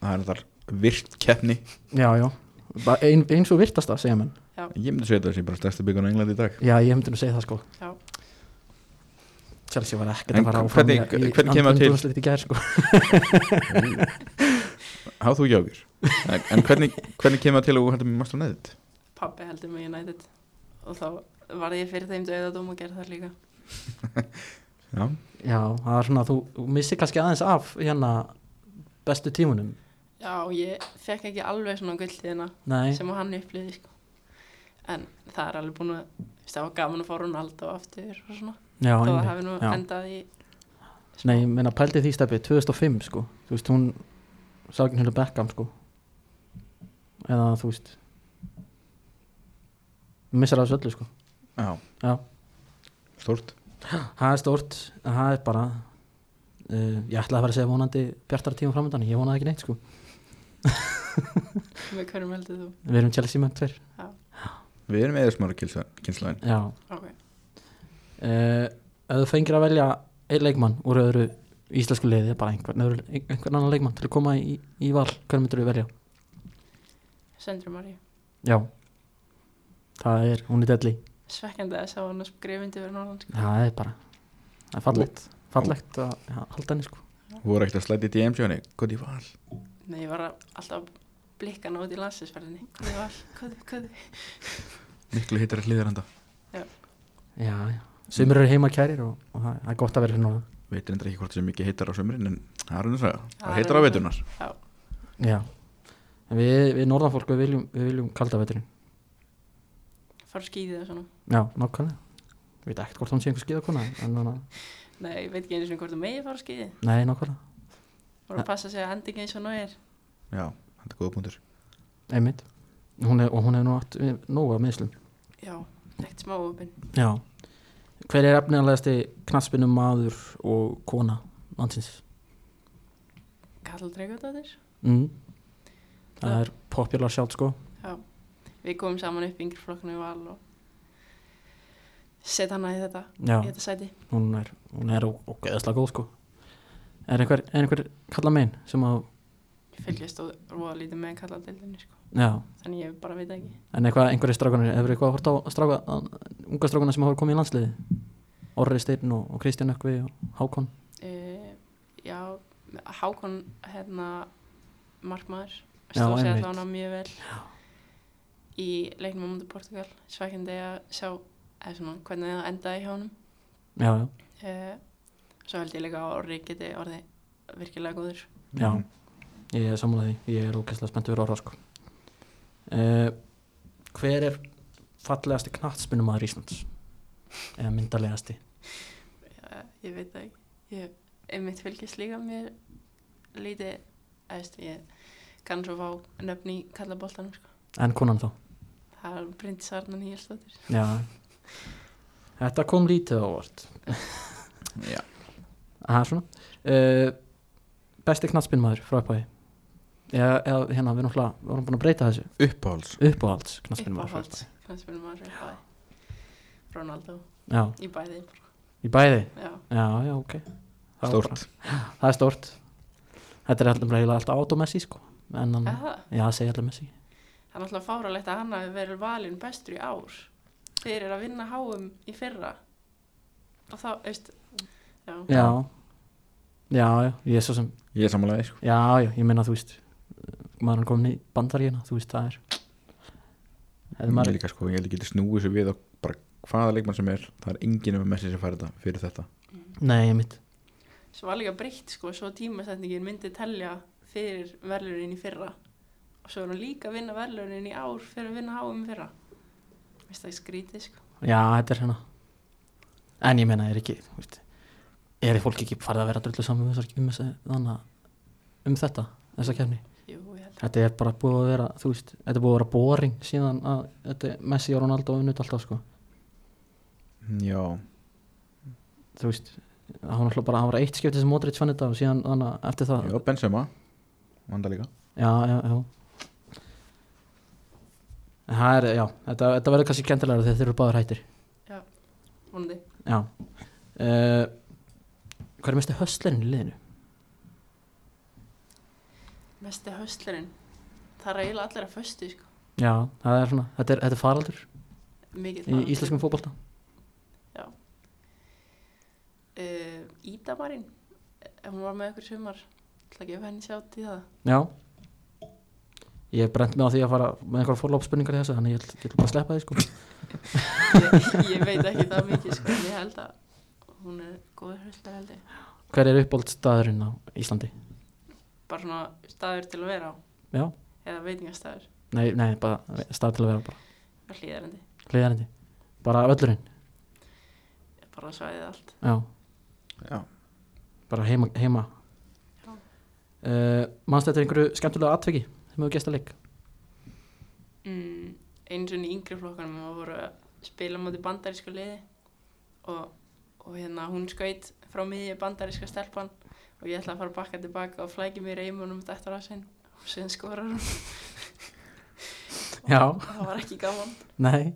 B: Það er þetta virt keppni.
A: já, já, Bara ein, eins og virtasta segja menn,
B: Ég myndi segja þetta sé bara stærsta byggun á Englandi í dag.
A: já, ég hefndi nú segið það sko
C: já.
A: Chelsea var ekkert
B: En
A: að fara áfram í,
B: hvernig-
A: í,
B: hvernig kemur það til?
A: undanúrslit í gær, sko.
B: Há þú ekki ágjur. En, en hvernig, hvernig kemur það til að þú heldur með Master United?
C: Pappi heldur með United og þá var ég fyrir þeim döðadóm að gera það líka.
B: Já,
A: Já, það er svona að þú, þú missir kannski aðeins af hérna bestu tímunum
C: Já, ég fekk ekki alveg svona gulltíðina
A: Nei,
C: sem að hann upplýði, sko. En það er alveg búin að, þú veist, það var gaman að fá Ronaldo aftur og
A: já,
C: svona. þó það
A: einmitt.
C: hafi nú
A: Já.
C: endað í
A: Nei, ég meina pældi því stefið 2005 sko, þú veist hún sá ekki hérna Beckham sko eða þú veist hún missir af þessu öllu sko
B: já.
A: Já.
B: Stórt.
A: það er stórt, en það er bara uh, ég ætlaði að vera að segja vonandi bjartara tíma framöndan, ég vonaði ekki neitt sko
C: Með hverjum heldur þú?
A: við erum Chelsea menn tver,
B: Við erum eða smára kynnslaðin.
A: já
C: Ok.
A: uh, ef þú fengir að velja einn leikmann úr öðru íslensku liði bara einhvern, öðru, einhvern annan leikmann til að koma í, í val, hvern myndur þú velja?
C: Söndri Maríu.
A: Já Það er, hún er delli
C: Svekkjandi að sjá hann að skrifindi verið norðan. sko.
A: Það er bara, það er fallegt fallegt að ja, halda henni sko
B: Voru ekkert að slæti í DM sjóni. Góð í val.
C: Nei, ég var að- alltaf að blikka hann út í landsinsferðinni. Hvað þið var? Hvað þið, hvað þið?
B: Miklu hittar að hlýðar enda.
A: Já, já, sumir eru heima kærir og, og það það er gott að vera hérna
B: Veitir enda ekki hvort sem mikið hittar á sömurinn en það er hún að segja.
C: Það
B: Það
C: er
B: hittar á
C: reyndar.
B: veitunar.
C: Já.
A: Já, en við, við norðanfólk við viljum, við viljum kalda veturinn
C: fara á skíði og svona
A: Já, nákvæmlega Ég veit ekkert hvort hún sé einhver skíðakona en þannig að,
C: Nei, ég veit ekki einu sinni hvort þú megi fara á skíði
A: nei, nákvæmlega,
C: og að passa sig að hendi ekki eins og náir
B: Já, þetta er góða punktur
A: einmitt hún er, Og hún hefur nú átt við- nógu af meðslum
C: Já, ekkert smá opinn
A: Já Hver er efnilegasti knaspinum maður og kona landsins?
C: Karl Dreikardóttir
A: Mm. Það er popular sjátt sko
C: Já, við komum saman upp í yngri flokknu í val og set hana í þetta,
A: Já,
C: í þetta sæti
A: hún er, hún er og, og geðslega góð sko Er einhver, er einhver kalla megin sem að
C: Ég fylgjast og roða lítið með kalladildinni sko.
A: Já,
C: þannig ég bara veit ekki
A: en eitthvað, einhverjir strákunir Hefur eitthvað hort á stráka, að, unga strákunar sem hafa komið í landsliði Orri Steinn og, og Kristján Ökvi og Hákon
C: uh, Já, Hákon hérna markmaður
A: Já,
C: stóð sér
A: einmitt.
C: allan á mjög vel í leiknum á mútu Portugal svækjandi að sjá eða svona, hvernig það endaði hjá honum
A: Já, já,
C: uh, svo held ég líka að Orri geti orðið virkilega góður
A: já
B: Mhm.
A: Ég er sammála því, ég er ógeðslega spennt fyrir orra sko uh, Hver er fallegasti knattspinum maður Íslands? Eða myndarlegasti
C: uh, ég veit það ekki ég, einmitt fylgjast líka mér lítið eðst, ég kann svo fá nöfn í kallaboltanum sko.
A: En konan þá?
C: það er Bryndis Arna Nýjelsdóttir
A: Já Þetta kom lítið á vart
B: Já,
A: Aha, svona uh, Besti knattspinnmaður frá upphæði Eða, eða hérna, við náttúrulega við vorum búin að breyta þessu
B: uppáhalds
A: Uppáhalds knattspinnmaður frá
C: uppáhalds
A: upphæði
C: knallspilum maður í bæði Ronaldo
A: Já,
C: í bæði bara.
A: í bæði
C: já,
A: Já, já, ok Það var
B: Stórt
A: bara- Það er stórt Þetta er alltaf eiginlega alltaf automessi sko En hann,
C: eða það
A: já, það segja alltaf messi
C: það er náttúrulega fáralegt að hann hafi verið valinn bestur í ár þeir eru að vinna háum í fyrra og þá, veist já,
A: Já Já, já, ég er svo sem
B: Ég er samanlega sko.
A: Já, já, ég meina þú veist Maður er komin í bandaríuna, þú veist, það er Hefði
B: Ég
A: maður
B: líka sko, ég held ég geti snúið sér við og bara hvaða leikmann sem er, það er enginn með messi sem fær þetta fyrir þetta
A: Nei, ég mitt
C: svo var líka breytt sko, svo tímasetningin myndi telja fyrir verðlunin í fyrra og svo er hún líka að vinna verðlunin í ár fyrir að vinna háum í fyrra veist það er skrítið sko
A: Já, þetta er hérna En ég meina, er ekki þú veist, Er fólk ekki farið að vera drullu saman um, þessar- um, þessa- þarna- um þetta, þessa kefni
C: jú, ég held
A: Þetta er bara búið að vera, þú veist Þetta er búið að vera boring síðan að þetta, er Messi og Ronaldo unnut alltaf, sko
B: Já,
A: Þú veist, það var náttúrulega bara Það var eitt skipti sem Modric fann þetta og síðan þannig eftir það
B: já Benzema Vanda líka
A: Já, já, já En Það er, já, þetta, þetta verður kannski kendilega þegar þeir eru báður hættir
C: að vonandi
A: Já uh, Hver er mesti höstlerinn í liðinu?
C: mesti höstlerinn það er eiginlega allir að föstu sko
A: Já, það er svona, þetta er, þetta er faraldur
C: mikið
A: í íslenskum fótbolta
C: uh, Ídamarinn eh, hún var með ykkur í sumar ætla ekki að gefa henni sjátt í það
A: Já Ég brent mig á því að fara með einhverja forlópsspurningar í þessu þannig ég ætl- ég ætla bara að sleppa því sko
C: ég, ég veit ekki það mikið sko en ég held að hún er góður höstler held ég
A: Hver er uppáldstaðurinn á Íslandi?
C: bara svona staður til að vera á
A: Já,
C: eða veitingastæður
A: nei, nei, bara stað til að vera bara
C: hlýðarendi
A: hliðarendi Bara völlurinn,
C: bara svæðið allt
A: já,
B: Já,
A: bara heima, heima.
C: Já.
A: Uh, Manst þetta einhverju skemmtulega atveki sem hefur gest að leik?
C: mm, eins og í yngri flokkanum og voru að spila á móti bandarísku liði og, og hérna hún skaut frá miðja bandaríska stelpan og ég ætla að fara að bakka tilbaka og flæki mér eimunum dættur á sinn og síðan skorar hún
A: Já,
C: og það var ekki gaman
A: nei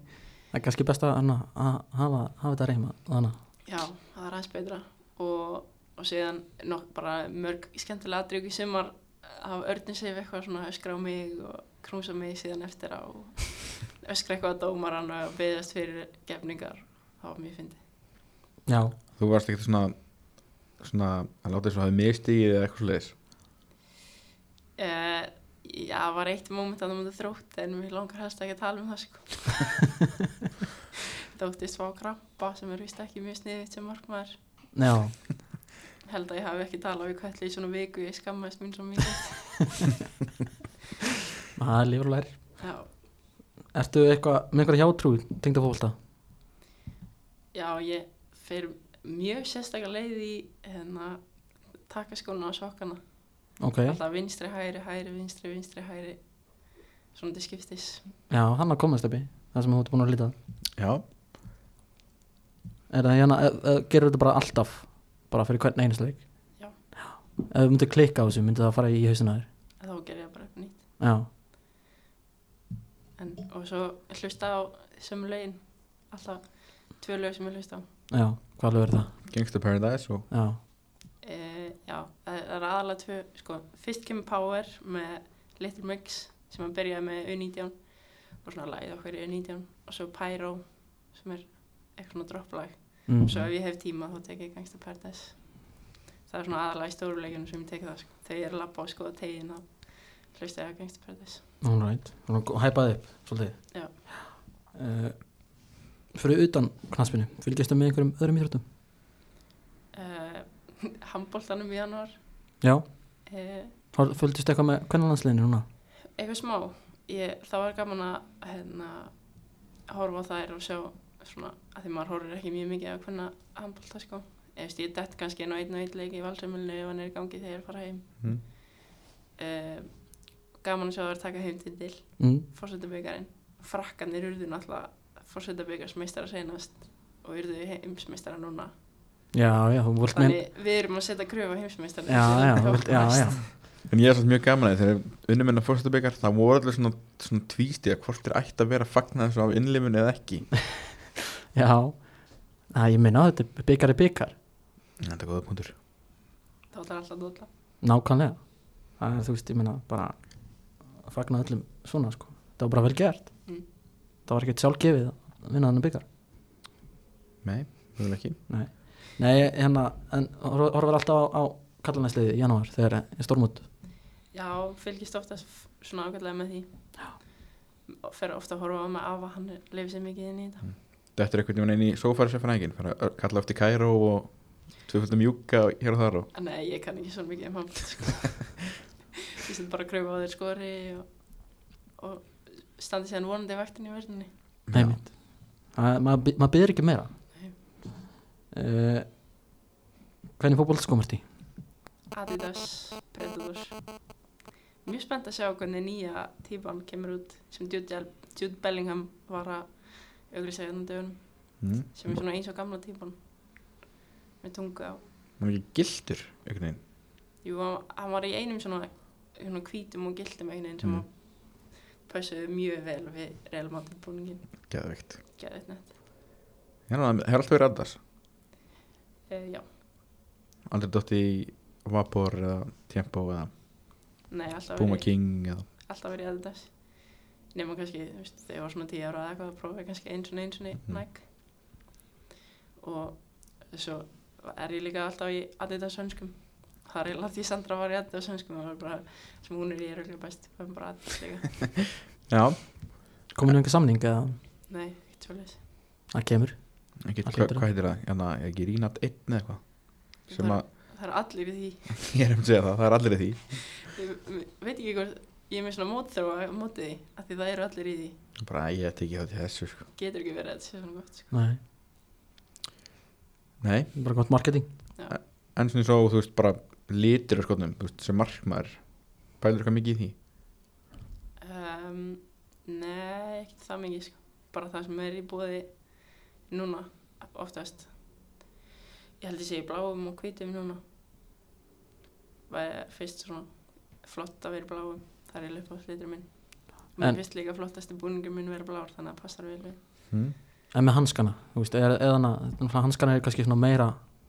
A: Það er kannski best að, hana, að hafa, hafa þetta reyma þannig
C: já, það var aðeins betra og, og síðan nokk bara mörg skemmtilega aðdrygg í sumar hafa örnum sig eitthvað svona öskra á mig og krúsa mig síðan eftir á og öskra eitthvað á dómaran og beðast fyrir gefningar það var mjög fyndið
A: Já,
B: þú varst ekkert svona svona að láta þess að hafa mistið eða eitthvað sliðis
C: Uh, já, það var eitt móment að það mútið þrótt en mér langar helst ekki að tala um það sko. Þóttist fá krampa sem er vist ekki mjög sniðið sem markmaður.
A: já
C: Held að ég hafi ekki talað við kvelli í svona viku, ég skammaðist mín svo mikið.
A: Það er lífur og lær
C: Já,
A: Ertu eitthvað, með einhverja hjátrú tengd að fólta?
C: já ég fer mjög sérstakar leið í hérna, takkaskóna og sokkana.
A: Ok,
C: Alltaf vinstri, hægri, hægri, vinstri, vinstri, hægri. Svona til skiptis.
A: já, hann að komast uppi Það sem þú ert búin að lítað
B: Já,
A: Er það hérna, e- e- gerur þetta bara alltaf Bara fyrir hvern einasta leik
C: Já.
A: Ef þú myndir klikka á þessu, myndir það fara í hausina þér
C: En Þá ger ég bara upp nýtt.
A: Já,
C: En, og svo hlusta á sömu lögin. Alltaf tvö lög sem ég hlusta á.
A: já, hvað lögur það?
B: Gangsta Paradise og
A: Já,
C: Uh, já, það það er aðalega tvö, sko, fyrst kemur Power með Little Mix sem að byrja með U19 og svona lagið okkur í U19 og svo Pyro sem er eitthvað svona dropplag
A: mm.
C: og svo ef ég hef tíma þá tek ég Gangsta Paradise það er svona aðalega í stóruleikinu sem ég tek það, sko, þegar ég er að labba á sko og tegin þá hlusta ég á Gangsta Paradise
A: All right, og hæpaði upp svolítið
C: Já.
A: uh, Fyrir utan knaspinu, fylgistu með einhverjum öðrum íþróttum?
C: uh, Hamboltanum í januar
A: Já,
C: uh,
A: Har- fylgistu eitthvað með kvennalandsliðinu núna?
C: eitthvað smá ég, það var gaman að hérna, horfa á þær og sjá svona, að því maður horfir ekki mjög mikið á hvernig handbólta sko ég veist ég dett kannski inn á einn og einn leik í valsumilinu ef hann er í gangi þegar ég er að fara heim
B: Mhm.
C: um, gaman að sjá þær taka heim til til
A: Mm.
C: fórsetabyggarinn frakkanir urðu náttúrulega fórsetabyggarsmeistara seinast og urðu heimsmeistara núna
A: Já, já, þú vilt meina
C: þannig við erum að setja kröfu á heimsmeistara
A: Já, já, þú vilt, já, já
B: En ég er svolítið mjög gaman að því þegar unnum minna fórstabikar það voru allir svona, svona tvísti að hvort þeir ætti að vera að fagna þessu af innlimun eða ekki
A: Já, það ég meina þetta er byggar er byggar
B: Þetta er góða punktur
C: þá er alltaf dóla
A: Nákvæmlega það er, Þú veist, ég meina bara að fagna öllum svona sko Það var bara vel gert
C: Mm.
A: Það var ekkert sjálfgefið að vinna þennan byggar
B: Nei, það er ekki
A: Nei, hérna, en horf- horfir alltaf á, á kallanæsliðið í janúar þegar er stormút
C: Já, fylgist oftast f- svona ágætlega með því Já Fer ofta að horfa á með afa, hann leifir sér mikið inn í þetta
B: Þetta er einhvern veginn inn í sófærisefnægin fyrir að kalla eftir Kairó og tvöföldum júka og hér og þar og
C: En Nei, ég kann ekki svona mikið um hann sko. Ég set bara að kröfa á þeir skori og, og standi séðan vonandi í vaktinni í verðinni
A: Nei, mitt Maður bi- maður byrðir ekki meira
C: Nei.
A: uh, Hvernig fótbolt skomast í?
C: Adidas, Predator Mjög spennt að sjá hvernig nýja típan kemur út sem Jude, Jel- Jude Bellingham var að auglýsa hérna dögunum
B: mm.
C: sem er svona eins og gamla típan með tungu á
B: Hún er ekki gildur einhvern veginn
C: Jú, hann, hann var í einum svona, svona hvítum og gildum einhvern veginn sem
B: Mm.
C: mm. passuði mjög vel við Real Madrid búningin,
B: Geðveikt
C: geðið nett.
B: Hérna, það hefur alltaf verið aðdas
C: Uh, já,
B: Aldrei dotti í Vapor eða Tempo eða
C: nei, alltaf
B: Puma
C: verið,
B: King eða
C: alltaf verið Adidas. Nefnum kannski, þú veist, þegar ég var svona 10 ára eða eitthvað, prófaði kannski eins og eins og
B: Mhm.
C: Nike. Og svo er ég líka alltaf í Adidas hönskum. Það er eiginlega því Sandra var í Adidas hönskum, það var bara, sem hún er í er örugglega best, það er bara Adidas líka.
B: Já,
A: Kominu einhver samning eða
C: nei, ekkert svolítið.
A: það kemur?
B: ekki,
A: Það
B: hva,
A: hlýtur að-
B: hvað heitir það? Hérna, er ekki Rínat 1 eða eitthvað sem að,
C: Það er allir í því.
B: ég er um að segja það, það er allir í því
C: Ég ve- veit ekki hvort ég er með svona mótþróa á móti því að því það eru allir í því
B: bara ég ætti ekki það til þessu sko.
C: getur ekki verið að þetta sé svona gott sko.
A: Nei,
B: Nei,
A: bara gott marketing
B: en svona svo þú veist bara litur á skotnum, þú veist sem markmaður pælur eitthvað mikið í því
C: um, Nei, ekkert það mikið sko. bara það sem er í bóði núna oftast ég held ég sé í bláum og hvítum núna það er fyrst svona flott að vera í bláum það er líka flitur minn
A: En-
C: mér finnst líka flottasti búningur minn vera blár þannig að það passar vel við
B: hmm?
A: En með hanskana, þú veist, eða, eða hana, náttúrulega hanskana er kannski svona meira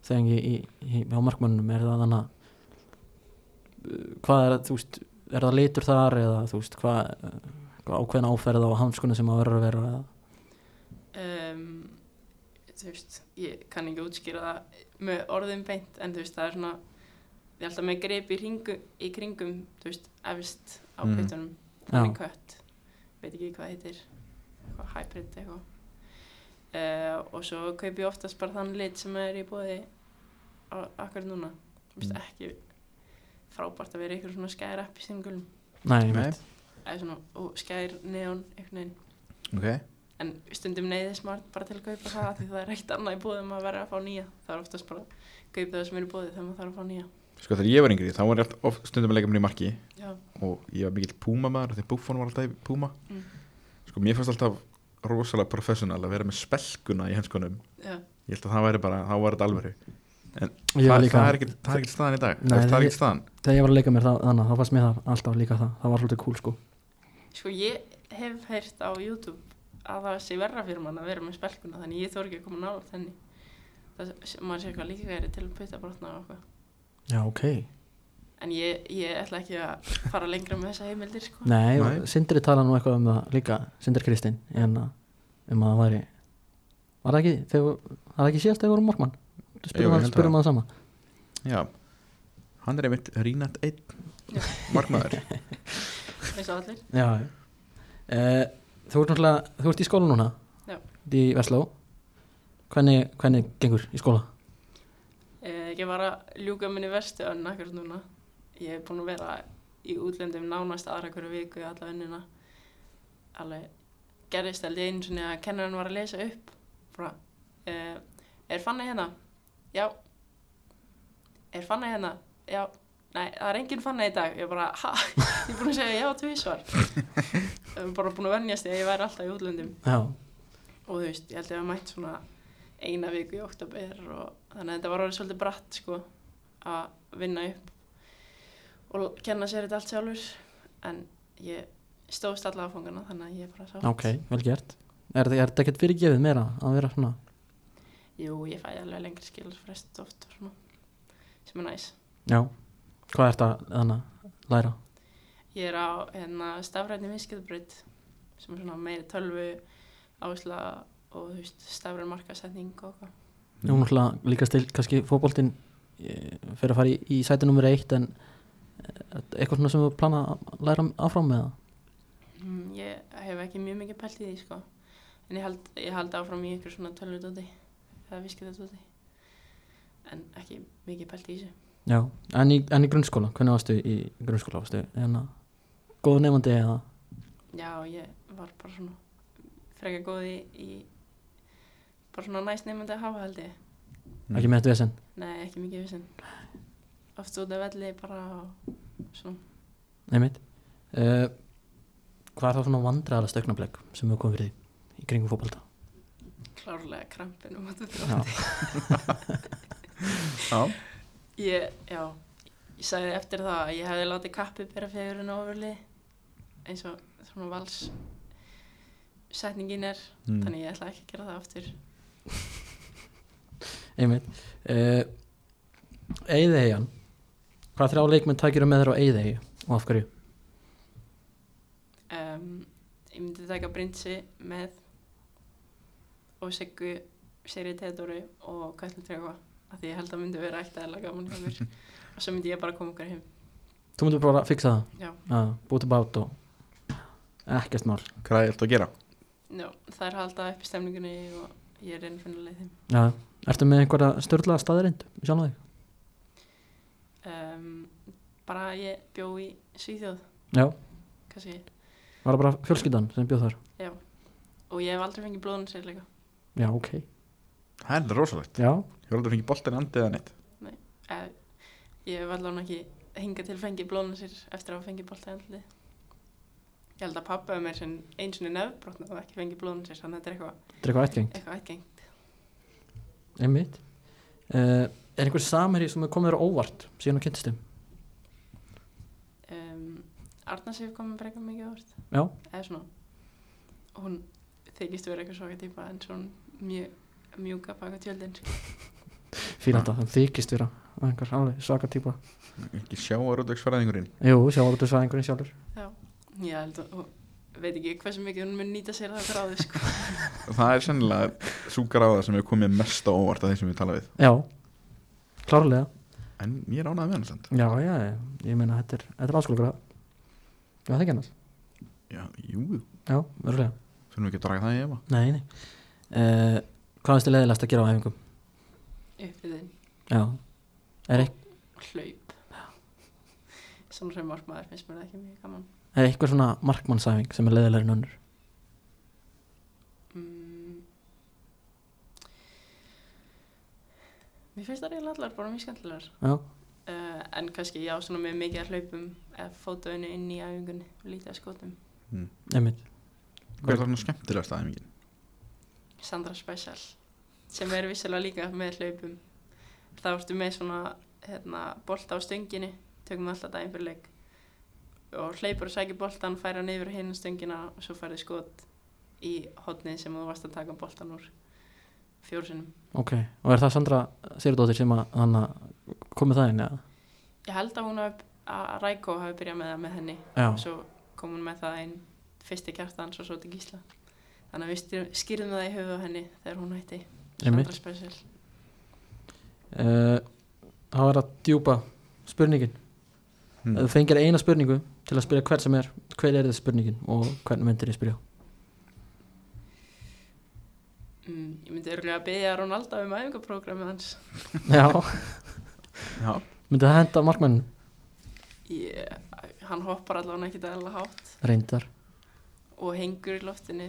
A: þegar í, í, í, á markmönnum er það hana uh, hvað er, þú veist, er það litur þar eða þú veist, hvað, uh, hvað ákveðna áferð á hanskuna sem að verður að vera eða,
C: um, þú veist, ég kann ekki útskýra það með orðum beint en þú veist, það er svona ég held að með grip í, hringu, í kringum þú veist, efst á
B: Mhm.
C: puttunum
A: Já.
C: þannig kött, veit ekki hvað það heitir eitthvað hybrid eitthvað uh, og svo kaup ég oftast bara þann lit sem er í bóði akkur núna, þú veist,
B: Mm.
C: ekki frábært að vera í ykkur svona skær app í singulum
A: Nei,
B: Nei.
A: mitt
C: eða svona og skær neon einhvern veginn
B: ok
C: en stundum neyðist maður bara til að kaupa það af því það er ekkert annað í bóðum að vera að fá nýja það er oftast bara að kaupa það sem er í bóði þegar maður þarf að fá nýja
B: Sko þegar ég var yngri, þá var ég alltaf oft stundum að leika mér í marki
C: já,
B: og ég var mikill púma maður þegar Buffon var alltaf í púma
C: Mm.
B: Sko mér fannst alltaf rosalega professional að vera með spelkuna í henskunum
C: já,
B: Ég held að það væri bara, þá var þetta alvöru
A: Ég var
B: það,
A: líka,
B: það er ekki, það er ekki staðan í dag
A: Nei,
B: Nei, Það er
A: ég-
B: ekki staðan
A: þegar ég var að leika mér það, þannig, þá fannst mér það alltaf líka það Það var svolítið cool sko
C: sko ég hef heyrt á YouTube að það sé verra fyrir mann að vera með spelkuna þannig ég þór ekki að koma nála þenni það maður sé eitthvað líka til að putta brotna og eitthvað
A: Já, ok
C: en ég, ég ætla ekki að fara lengra með þessa heimildir sko.
A: Nei,
B: Nei.
A: Nei. Sindri tala nú eitthvað um það líka Sindri Kristinn, en að um að það væri Var það ekki, þegar, það var ekki síðast þegar vorum Morkmann
B: Jú, ég
A: Spurum
B: held
A: að,
B: að-
A: spurum að það sama
B: Já, hann er einmitt Rínat 1 Markmaður
C: eins og allir
A: Já uh, Þú ert náttúrulega, þú ert í skóla núna
C: Já.
A: Í Vestló Hvernig, hvernig gengur í skóla?
C: Eh, Ég var að ljúka minni verstu önn akkur núna. Ég hef búin að vera í útlöndum nánast aðra hverju viku í alla önnina. Alveg gerðist held ég einu sinni að kennarinn var að lesa upp. Bara, uh, er fannig hérna? Já. Er fannig hérna? Já. Nei, það er enginn fannig í dag. Ég bara, ha? Ég er búin að segja já tvísvar. Ég er bara búin að vennjast því að ég væri alltaf í útlöndum
A: Já,
C: og þú veist, ég held ég að mætt svona eina viku í oktober og þannig að þetta var orðið svolítið bratt sko að vinna upp og kenna sér þetta allt sjálfur en ég stóðst alla áfangana þannig að ég er bara sátt
A: ok, vel gert Er, er þetta ekkert fyrirgefið meira að vera svona
C: Jú, ég fæði alveg lengri skilurfrest oft og svona, sem er næs
A: Já, hvað ertu að þannig, að læra?
C: Ég er á hérna stafræðni viðskiptabrydd sem er svona meiri tölvu áhersla og þú veist, stafræðin markasetning og eitthvað
A: Nú náttúrulega líka stil, kannski fótboltinn eh, fer að fara í, í sæti nummer eitt en eh, eitthvað svona sem við plana að læra áfram með það
C: Mm, Ég hef ekki mjög mikið pælt í því sko en ég hald, ég hald áfram í ykkur svona tölvutóti eða viskitatóti en ekki mikið pælt í þessu
A: Já, en í, en í grunnskóla, hvernig varstu í grunnskóla varstu? En að góðu nefandi eða
C: Já, ég var bara svona frekar góð í, í bara svona næst nefndi að hafa held ég
B: Mm.
A: ekki með þetta vesen
C: Nei, ekki mikið vissin Oft út af velli bara og svona
A: einmitt uh, Hvað er það svona vandræðala stöknableg sem við komum fyrir því í kringum fótbolta?
C: klárlega krampin um að
A: Já,
B: Já,
C: Ég, já, ég sagði eftir það að ég hefði látið kappi bera fegurinn ofurli eins og svona vals setningin er,
B: mm.
C: þannig ég ætla ekki að gera það aftur.
A: einmitt uh, Eyðeyjan Hvað þrjá leikmenn tækir með þér á Eyðeyju og af hverju?
C: Um, ég myndi taka Brindsi með og Siggu, Seri Tedóri og Kallin Tregva af því ég held að myndi vera ekkert eða gaman hjá mér og svo myndi ég bara koma okkar heim.
A: Þú myndir bara að fixa það?
C: Já,
A: að búti bát og ekkert mál
B: hvað er þetta að gera?
C: já það er halda upp í stemningunni og ég er einn finnileg þeim.
A: ja. Ertu með einhverja störla staðarind sjálf þig?
C: Um, bara ég bjó í Svíþjóð,
A: Já,
C: kannski
A: var það bara fjölskyldan sem bjóð þar?
C: og ég hef aldrei fengið blóðun sérleika
A: Já, ok
B: Það er þetta rosalegt
A: Já,
B: Ég var aldrei að fengi boltan andið eða neitt
C: Eh, ég hef allan ekki hingað til fengið blóðun sér eftir að hafa fengið bolta í andli ég held að pappa er sem eins og nefnbrotna og ekki fengið blóðun sér þannig að þetta er eitthvað
A: þetta er eitthvað ættgeng
C: eitthva ætgengt
A: Einmitt uh, Er einhver samherji sem er komið þér á óvart síðan að kynntist þeim?
C: um, Arna séf komið breyka mikið orð
A: Já,
C: eða svona hún þykist vera eitthvað svaka típa en svona mjög mjúka baka tjöldin sko.
A: fíla þetta, það þykist vera einhver alveg svaka típa
B: Ekki sjá að rúdvegsfæraðingurinn
A: Jú, sjálfur þú svæði einhverjum sjálfur
C: ég held að hún veit ekki hversu mikið hún mun nýta sér það gráði sko.
B: Það er sennilega sú gráða sem hefur komið mest á óvart af þeim sem við tala við
A: Já, klárlega
B: En ég er ánægð með hann samt
A: Já, já, ég, ég meina þetta er, þetta er áskóla gráð Já, það er ekki annars
B: Já, jú,
A: Já, verulega
B: þurfum við ekki að draga það í efa
A: Nei, nei uh, Hvað finnst þið leiðilegast að gera á æfingum?
C: upp við þinn
A: Já Er, eitth
C: hlaup svona sem markmaður finnst mér það ekki mjög gaman
A: Eða eitthvað svona markmannsæfing sem er leiðilegri en önnur
C: mm. Mér finnst það reyðilega allar bara mjög skemmtilegar
A: Já,
C: uh, en kannski já, svona með mikið að hlaupum eða fótaunni inn í æfingunni og lítið að skotum
B: Mm.
A: einmitt
B: Hvað er það svona skemmtilegast aðeins?
C: Sandra Special sem er vissilega líka með hlaupum þá ertu með svona hérna, bolta á stönginni tökum alltaf daginn fyrir leik og hleypur og sækir boltan, færa hann yfir á hinn stöngina og svo færði skot í hotnið sem þú varst að taka boltan úr fjórsinnum
A: Ok, og er það Sandra Sigurdóttir sem að hann komið það inn eða?
C: ég held að hún hafi, að Rækó hafi byrjað með það með henni
A: Já,
C: og svo kom hún með það einn fyrsti kjartans og svo til Gísla þannig að við styr- skýrðum það í höfuð á henni þegar hún hætti
A: einmitt
C: Sandra Special
A: Eh, Það var að djúpa spurningin Ef
B: Hmm.
A: þú fengir eina spurningu til að spyrja hvern sem er, hver er þið spurningin og hvern myndir ég spyrja?
C: Mm, ég myndi örgulega að byggja Ronaldo um æfingaprógramið hans.
A: Já,
B: Já,
A: myndi það henda markmann
C: Ég, hann hoppar allavega ekki dæla hátt
A: reyndar?
C: og hengur í loftinu.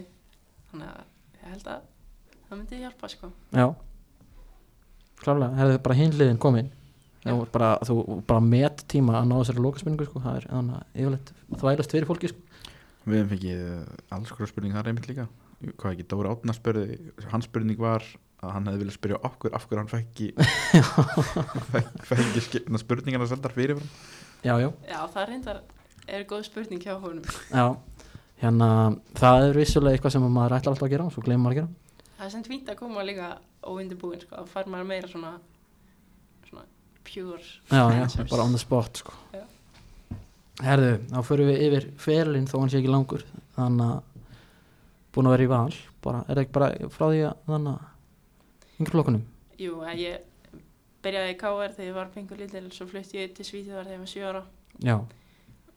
C: Þannig að ég held að það myndi hjálpa sko.
A: Já Klálega, hefðu bara hinliðin komin
C: Já.
A: Já. Bara, þú bara met tíma að ná þessari lokaspurningu sko, það er þannig að yfirleitt þvælast fyrir fólki sko.
B: við hefum fengið eh, alls hverju spurning þar einmitt líka Hvað ekki, Dóra Átna spurði Hans spurning var að hann hefði viljað spyrja okkur af hverju hann fekk ekki fekk, fekk ekki skipna spurningarna seldar fyrir
A: Já, já,
C: Já, það reyndar er góð spurning hjá honum.
A: já Hérna, það er vissulega eitthvað sem maður ætlar alltaf að gera og svo gleymir maður að gera
C: Það er sem fínt að koma líka óundibúin sko. Það fær maður meira svona, svona pure
A: Já, já,
C: answers.
A: bara on the spot sko.
C: Já.
A: Herðu, þá förum við yfir ferilinn þó hann sé ekki langur Þannig að búin að vera í val bara, Er það ekki bara frá því að þannig að yngur lokunum?
C: Jú, að ég byrjaði í KR þegar ég var pengur lítil, svo flutti ég til Svíþjóðar þegar ég var 7 ára.
A: Já,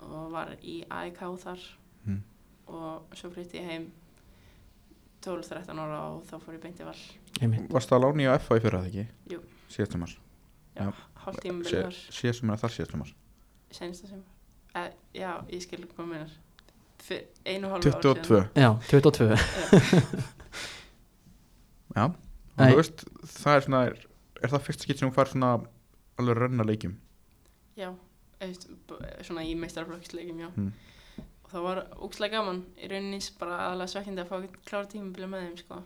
C: og var í AIK þar
B: Mm.
C: og svo flytti ég heim 12-13 ára og þá fór ég beint í val
A: einmitt
B: Varst það að lána í FH í fyrra það ekki?
C: Jú.
B: Síðastum ás Já.
C: hálf tíma
B: Sé-
C: byrjum var
B: Síðastum er þar síðastum ás
C: sensta sem e, já, ég skil hvað minnar einu og hálfu ár síðan.
B: 22
A: Já, 22
B: Já, og
A: Nei.
B: þú veist, það er svona er, er það fyrst skipt sem hún fær svona alveg rönna leikjum
C: já, eist, svona í meistarflokksleikjum já
B: Mm.
C: og það var ógslag gaman í rauninni bara aðalega svekkindi að fá klára tíma byrja með þeim sko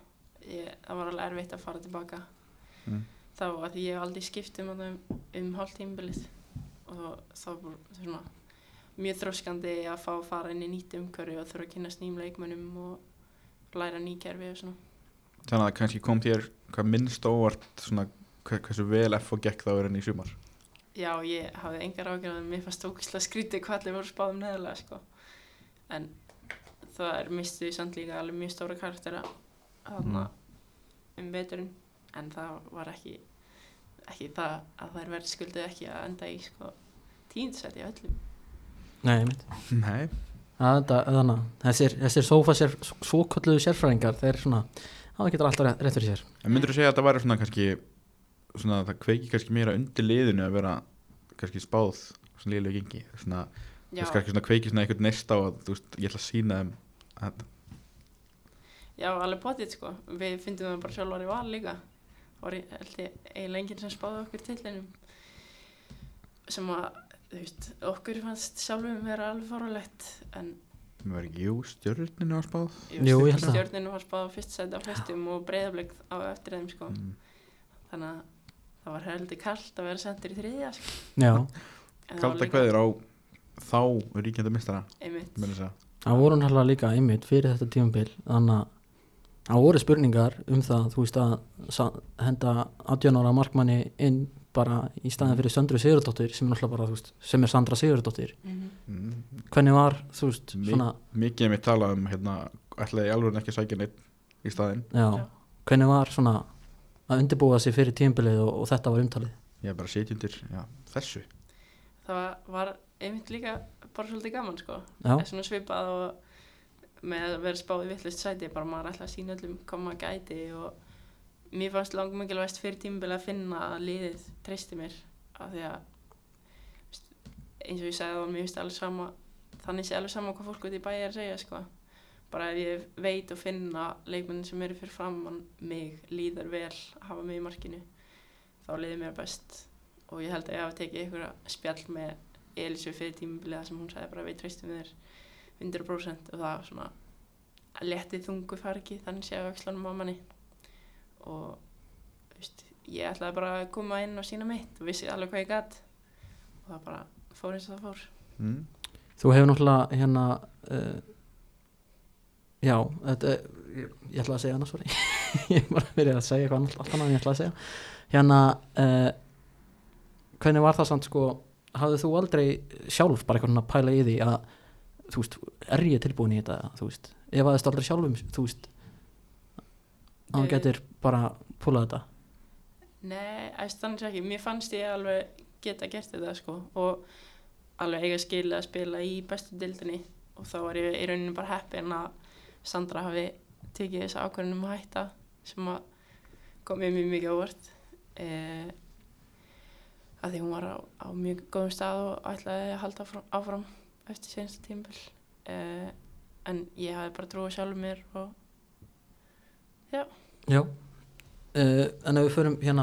C: ég, það var alveg erfitt að fara tilbaka
B: Mm.
C: þá að því ég hef aldrei skipt um, um, um hálf tímabilið og þá var svona mjög þróskandi að fá að fara inn í nýtt umhverju og þurfa að kynast nýjum leikmönnum og læra ný kerfi og svona
B: þannig að kannski kom þér hvað minnst óvart svona hve- hversu vel FH gekk þá er henni í sumar
C: já, ég hafði engar ágjörðan mér fannst ókvæslega skrítið hvað allir voru spáðum neðalega sko. en það er mistuði samt líka alveg mjög stóra karaktera þarna um veturinn en það var ekki ekki það að þær verð skuldið ekki að enda í sko, tíundsæti í öllum
A: Nei, einmitt
B: Nei,
A: Það er þetta- þannig að þessir, þessir sófa sér, svokölluðu sérfræðingar þeir svona, það getur alltaf rétt- rétt fyrir sér
B: en myndur þú segja að það væri svona kannski svona það kveiki kannski meira undir liðinu að vera kannski spáð svona liðlega gengi svona, þú
C: Já,
B: veist kannski svona kveiki svona einhvern neist á að þú veist, ég ætla að sína þeim að,
C: já, alveg potið sko. Við fyndum það bara sjálfar í val líka. Og ég held ég eiginlega enginn sem spáði okkur tillinum. Sem að, þú veist, okkur fannst sjálfum vera alveg fórulegt. En
B: mér var ekki, jú, stjörninu að spáð
A: Jú, ég held það.
C: stjórninu var spáð á fyrst sæti á flestum og breyðablik á eftir þeim sko.
B: Mm.
C: Þannig að það var heldur kallt að vera sendur í þriðja sko.
A: Já,
C: En það var
B: Kalda
C: líka-
B: kveður á þá ríkjandi mistara,
C: Einmitt.
B: mér að segja
A: það voru náttúrulega líka einmitt fyrir þetta tímabil þannig að það voru spurningar um það, þú veist að sa- henda 18 ára markmanni inn bara í staðin fyrir Söndru Sigurdóttir sem er náttúrulega bara, þú veist, sem er Sandra Sigurdóttir
C: Mhm.
B: mm.
A: hvernig var, þú veist,
B: Mi-
A: svona
B: mikið er mér talað um hérna, ætlaði ég alveg ekki að sækja neitt í staðinn,
A: já,
C: Já.
A: hvernig var svona að undirbúa sig fyrir tímabilið og, og þetta var umtalið
B: ég er bara setjundir já, þessu,
C: það var einmitt líka bara svolítið gaman sko.
A: Já,
C: er svona svipað og með að vera spáð í vittlust sæti bara maður ætla að sína öllum hvað maður gæti og mér fannst langum ekki alveg fyrir tímbil að finna að liðið treysti mér af því að þú veist, eins og ég sagði það, mér finnst alveg sama þannig sé alveg sama hvað fólk út í bæi er að segja sko. bara ef ég veit og finna leikmennin sem eru fyrir framann mig líðar vel að hafa mig í markinu þá liðir mér best og ég held að ég hafa tekið einhverja spjall með Elísu fyrir tímubilið þar sem hún sagði bara við treystum þér 100% og það var svona letið þungu fargi þannig sé að öxlanum á manni og þú veist, ég ætlaði bara að koma inn og sína mitt og vissi alveg hvað ég gætt og það bara fór eins og það fór
B: mm.
A: Þú hefur náttúrulega hérna uh, Já, þetta ég, ég ætlaði að segja annars, sorry Ég var að byrja að segja eitthvað annars, allt annað en ég ætlaði að segja Hérna uh, Hvernig var það samt sko Hafðið þú aldrei sjálf bara eitthvað svona að pæla í því að þú veist, er ég tilbúin í þetta þú veist, ef að þetta aldrei sjálfum þú veist að þú
C: Eh.
A: getur bara púlað þetta
C: Nei, æst, þannig sé ekki. Mér fannst ég alveg geta gert þetta sko og alveg eiga skilið að spila í bestu dildinni og þá var ég í rauninu bara heppin að Sandra hafi tekið þessa ákvörðunum að hætta sem að kom mér mjög mikið á vort eh, að því hún var á, á mjög góðum stað og ætlaði að halda áfram, áfram eftir senstu tímpil eh, en ég hafi bara trúið sjálfur mér og
A: Já uh, En ef við förum hérna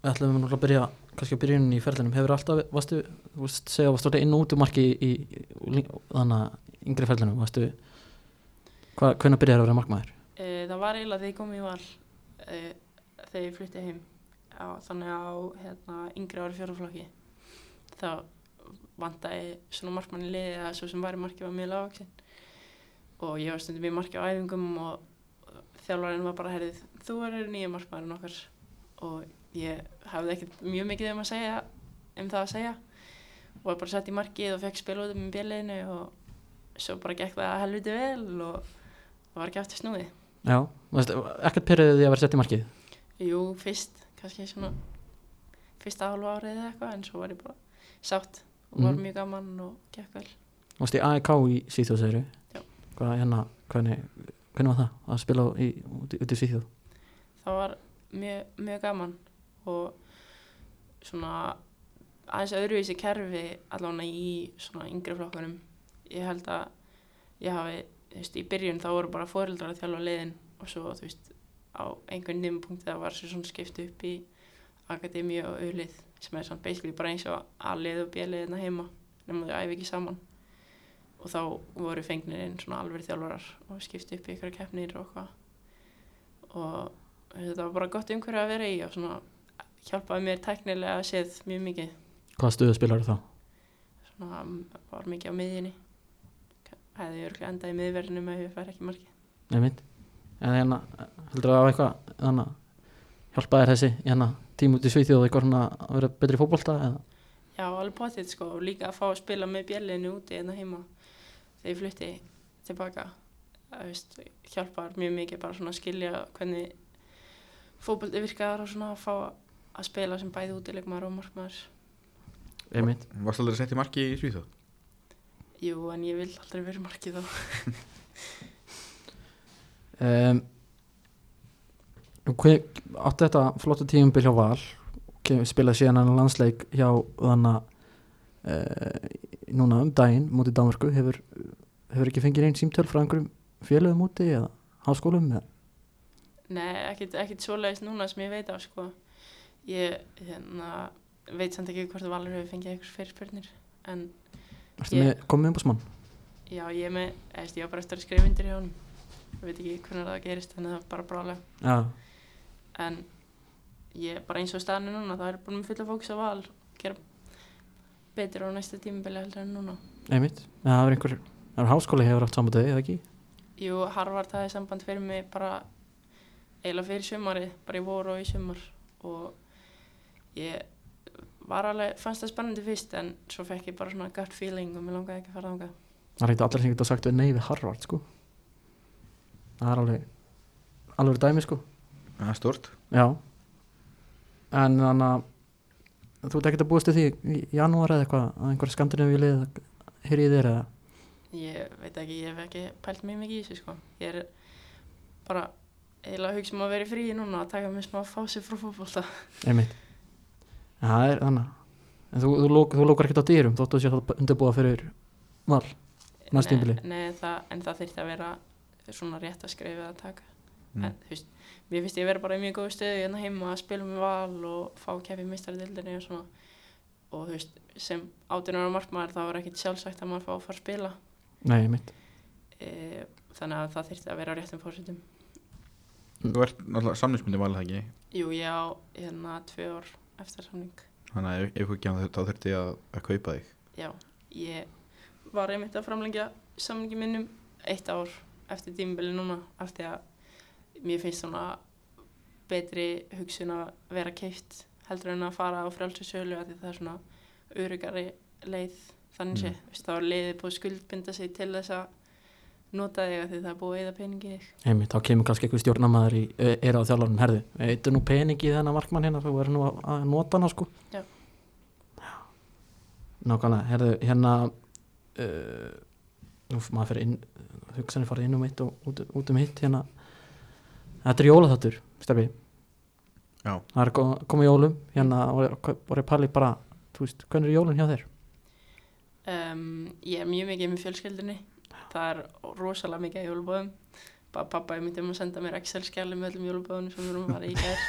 A: við ætlum við náttúrulega að byrja kannski að byrja inn í ferlinum hefur alltaf, varstu, þú veist, segja varstu alltaf inn og út úr marki í, í, í þannig að yngri ferlinum, varstu hva, hvernig byrjar að vera markmaður?
C: Uh, það var eiginlega þegar ég kom í val uh, þegar ég flutti heim á, þannig á hérna, yngri ári fjóraflokki þá vantaði svona markmann í liði að svo sem var í marki var mjög lágvaksinn og ég var stundum í marki á æfingum og þjálfarinn var bara herðið þú verður nýja markmann okkar og ég hafði ekkert mjög mikið um að segja um það að segja og var bara sett í markið og fekk spila út um í bjöliðinu og svo bara gekk það helviti vel og það var ekki aftur snúið
A: Já, varstu, ekkert pyrrðið því að vera sett í markið?
C: Jú, fyrst, kannski svona fyrsta hálfa árið eða eitthvað en svo var ég bara sátt og var
A: Mhm.
C: mjög gaman og gekk vel
A: Varstu í AEK í Svíþjóðsæru?
C: Já.
A: Hvað, hérna, hvernig, hvernig var það að spila í, út, í- út í Svíþjóð?
C: það var mjög, mjög gaman og svona aðeins öðruvísi kerfi allavega í svona yngri flokkunum ég held að ég hafi, þú veist, í byrjun þá voru bara fóreldrar að þjálfa liðin og svo, þú veist, á einhvern nýmpunkti það var svo svona skipt upp í akademíu og auðlið sem er svona basically bara eins og A-lið og B-lið hérna heima nema þau æfi ekki saman og þá voru fengnir inn svona alveg þjálfarar og skipt upp í ykkur keppnir og eitthvað og þetta var bara gott umhverju að vera í og svona hjálpaði mér tæknilega að séð mjög mikið
A: Hvaða stöðu spilar þá?
C: svona var mikið á miðjunni hefði ég örglega endað í miðverðinum ef ég fær ekki markið
A: Nei mitt En hérna, heldur það að eitthvað hérna, hjálpa þér þessi hérna, tím út í Svíþjóð eitthvað svona að vera betri í fótbolta eða?
C: Já, alveg potið sko og líka að fá að spila með björlinu úti en heima þegar ég flutti tilbaka það veist, hjálpar mjög mikið bara svona að skilja hvernig fótbolti virkar og svona að fá að spila sem bæði útilegmaður og markmaður
A: Nei mitt
B: Varst aldrei sent í marki í Svíþjóð?
C: Jú, en ég vil aldrei verið markið þá
A: um, hver, átti þetta flottu tíumbil hjá Val kem, spilaði síðan hann landsleik hjá þannig uh, núna um daginn mútið Danmarku hefur, hefur ekki fengið einn símtöl frá einhverjum félögum úti eða háskólum eða?
C: Nei, ekkit, ekkit svoleiðis núna sem ég veit af sko ég hérna, veit samt ekki hvort Valur hefur fengið einhvers fyrirspurnir en
A: Ertu
C: Ég-
A: með, komið umbúsmann
C: já, ég er með, eða, veist, ég var bara eftir að skrifa undir hjá honum ég veit ekki hvernig það gerist þannig að það er bara brálega
A: ja.
C: en ég bara eins og staðinu núna það er bara með fulla fókus á val gera betur á næsta tímabili heldur en núna
A: einmitt, eða það er einhver það er háskóli hefur átt sambandið eða ekki
C: Jú, Harvard hafði samband fyrir mig bara eiginlega fyrir sumarið, bara í voru og í sumar og ég var alveg, fannst það spennandi fyrst en svo fekk ég bara svona gut feeling og mér langaði ekki að fara þangað
A: það er ekkert allir sem geta sagt við nei við Harvard sko það er alveg alveg dæmi sko
B: Það er stort
A: Já En þannig að þú ert ekkert að búast til því í janúar eða eitthvað að einhver skandinu við lið heyri í þér eða
C: Ég veit ekki, ég hef ekki pælt mjög mikið í þessu sko. Ég er bara eiginlega að hugsa um að vera í fríi núna að taka mér smá fási frá fótbolta.
A: einmitt En það er þannig En þú, þú, lok, þú lókar ekkert á dyrum þóttu sér það undirbúa fyrir val Næst tímabili.
C: Nei, nei það, en það þyrfti að vera svona rétt að skrifa að taka.
B: Mm.
C: En, þú veist, mér finnst ég vera bara í mjög góðu stöðu hérna heima að spila með val og fá keppi mistarildinni og svona. Og þú veist, sem átunar og markmaður þá er ekkit sjálfsagt að maður fá að fara að spila.
A: Nei, mitt
C: E, þannig að það þyrfti að vera á réttum fórsetum.
B: Þú ert náttúrulega samningsmyndi valið það ekki
C: Jú, ég á hérna tvö ár eftir samning.
B: Þannig að ef, ef ekki hann þá þurfti ég að, að kaupa þig
C: Já, ég var einmitt að framlengja samningi minnum eitt ár eftir tímabili núna af því að mér finnst svona betri hugsun að vera keift heldur en að fara á frjálsinsölu af því það er svona örugari leið þannig sé,
B: Mm.
C: mm. þá er leiðið búið að skuldbinda sig til þess að nota þig af því það er búið að eða peningi í þig
A: Einmitt, þá kemur kannski einhver stjórnamaður í er á þjálfarnum herðu, eitthvað nú pening í þennan markmann hérna, þú er nú að, að nota hana sko
C: Já.
A: Já. Nákvæmlega, herðu, hérna uh, nú f- maður fyrir inn hugsanir farið inn um eitt og út, út um hitt hérna, þetta er jólaþáttur stefi,
B: Já.
A: það er ko- komið jólum hérna, voru- voru ég palið bara þú veist, hvernig er jólun hjá þér?
C: Um, ég er mjög mikið með fjölskyldinni. Það er rosalega mikið af jólubóðum. Bara pappa er myndið um að senda mér Excel-skjali með öllum jólubóðunum sem við erum að fara í gær.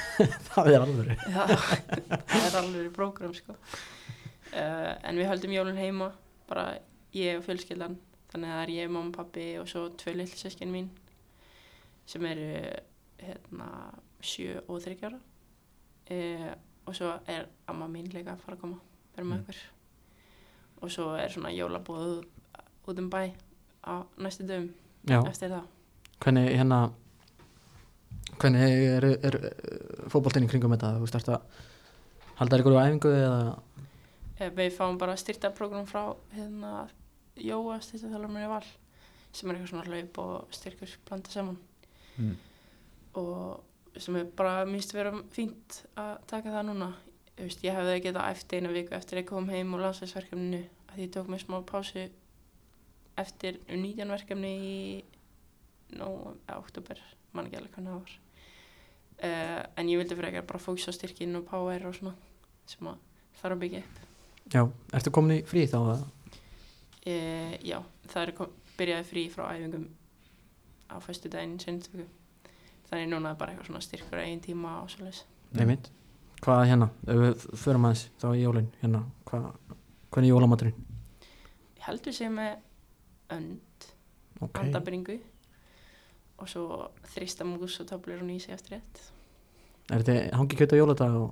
A: það er alveg
C: Já, það er alveg í prógram, sko. Uh, en við höldum jólun heima, bara ég og fjölskyldan. Þannig að það er ég, mamma, pappi og svo tvö lill sískin mín sem eru hérna, sjö og þryggjara. Uh, og svo er amma mín líka að fara að koma, vera með
B: Mm.
C: okkur. Og svo er svona jólabóð út um bæ á næstu dögum
A: Já,
C: eftir það.
A: hvernig hérna hvernig er, er, er fótboltinn í kringum þetta, þú starta haldar ykkur á æfingu eða
C: Eh, Við fáum bara styrta program frá hérna Jóa styrtaþjálfarinn í Val sem er eitthvað svona laup og styrkur blanda saman
B: mm.
C: og sem er bara minnst vera fínt að taka það núna Þú veist, ég hefði getað æft eina viku eftir ég kom heim úr landslæsverkefninu að ég tók mér smá pásu eftir um 19 verkefni í nó, oktober, mann ekki alveg hvernig það var uh, en ég vildi fyrir ekki bara fóksa styrkinn og power og svona sem að þarf að byggja upp
A: já, ertu komin í frí þá eða?
C: E, já, það er kom, byrjaði frí frá æfingum á fyrstu daginn sinnstöku. Þannig núna er bara eitthvað svona styrkur einn tíma og svoleiðis.
A: Nei mitt, hvað hérna ef við förum aðeins þá í jólin hérna, hvað, hvernig er jólamaturinn
C: Ég heldur sig með önd,
A: ok,
C: andabringu og svo þrista mús og töflur og nýsi eftir rétt.
A: er þetta hangi kjöta jóladag og,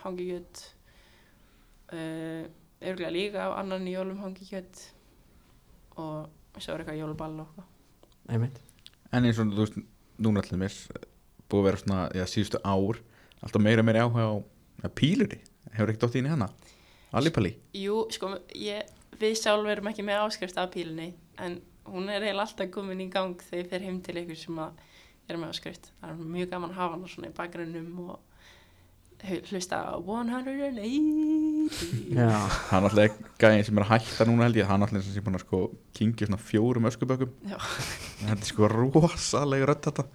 C: Hangi kjött, uh, örgulega líka á annan í jólum hangi kjött og svo er eitthvað jóluball og eitthvað.
A: nei mitt
B: En eins og þú veist, núna allir mér búið að vera svona, já, síðustu ár alltaf meira og meira áhuga á að píluri, hefur ekki dótt inn í hana Alipali,
C: Jú, sko, ég, við sjálf erum ekki með áskrift af pílunni en hún er eiginlega alltaf komin í gang þegar ég fer heim til ykkur sem að er með áskrift. Það er mjög gaman að hafa hana svona í bakgrunnum og hu- hlusta á 180
A: já,
B: hann alltaf gæðin sem er að hætta núna held ég, hann alltaf sem búin að sko kingja svona fjórum öskubökkum
C: Já.
B: þetta er sko rosalega rödd þetta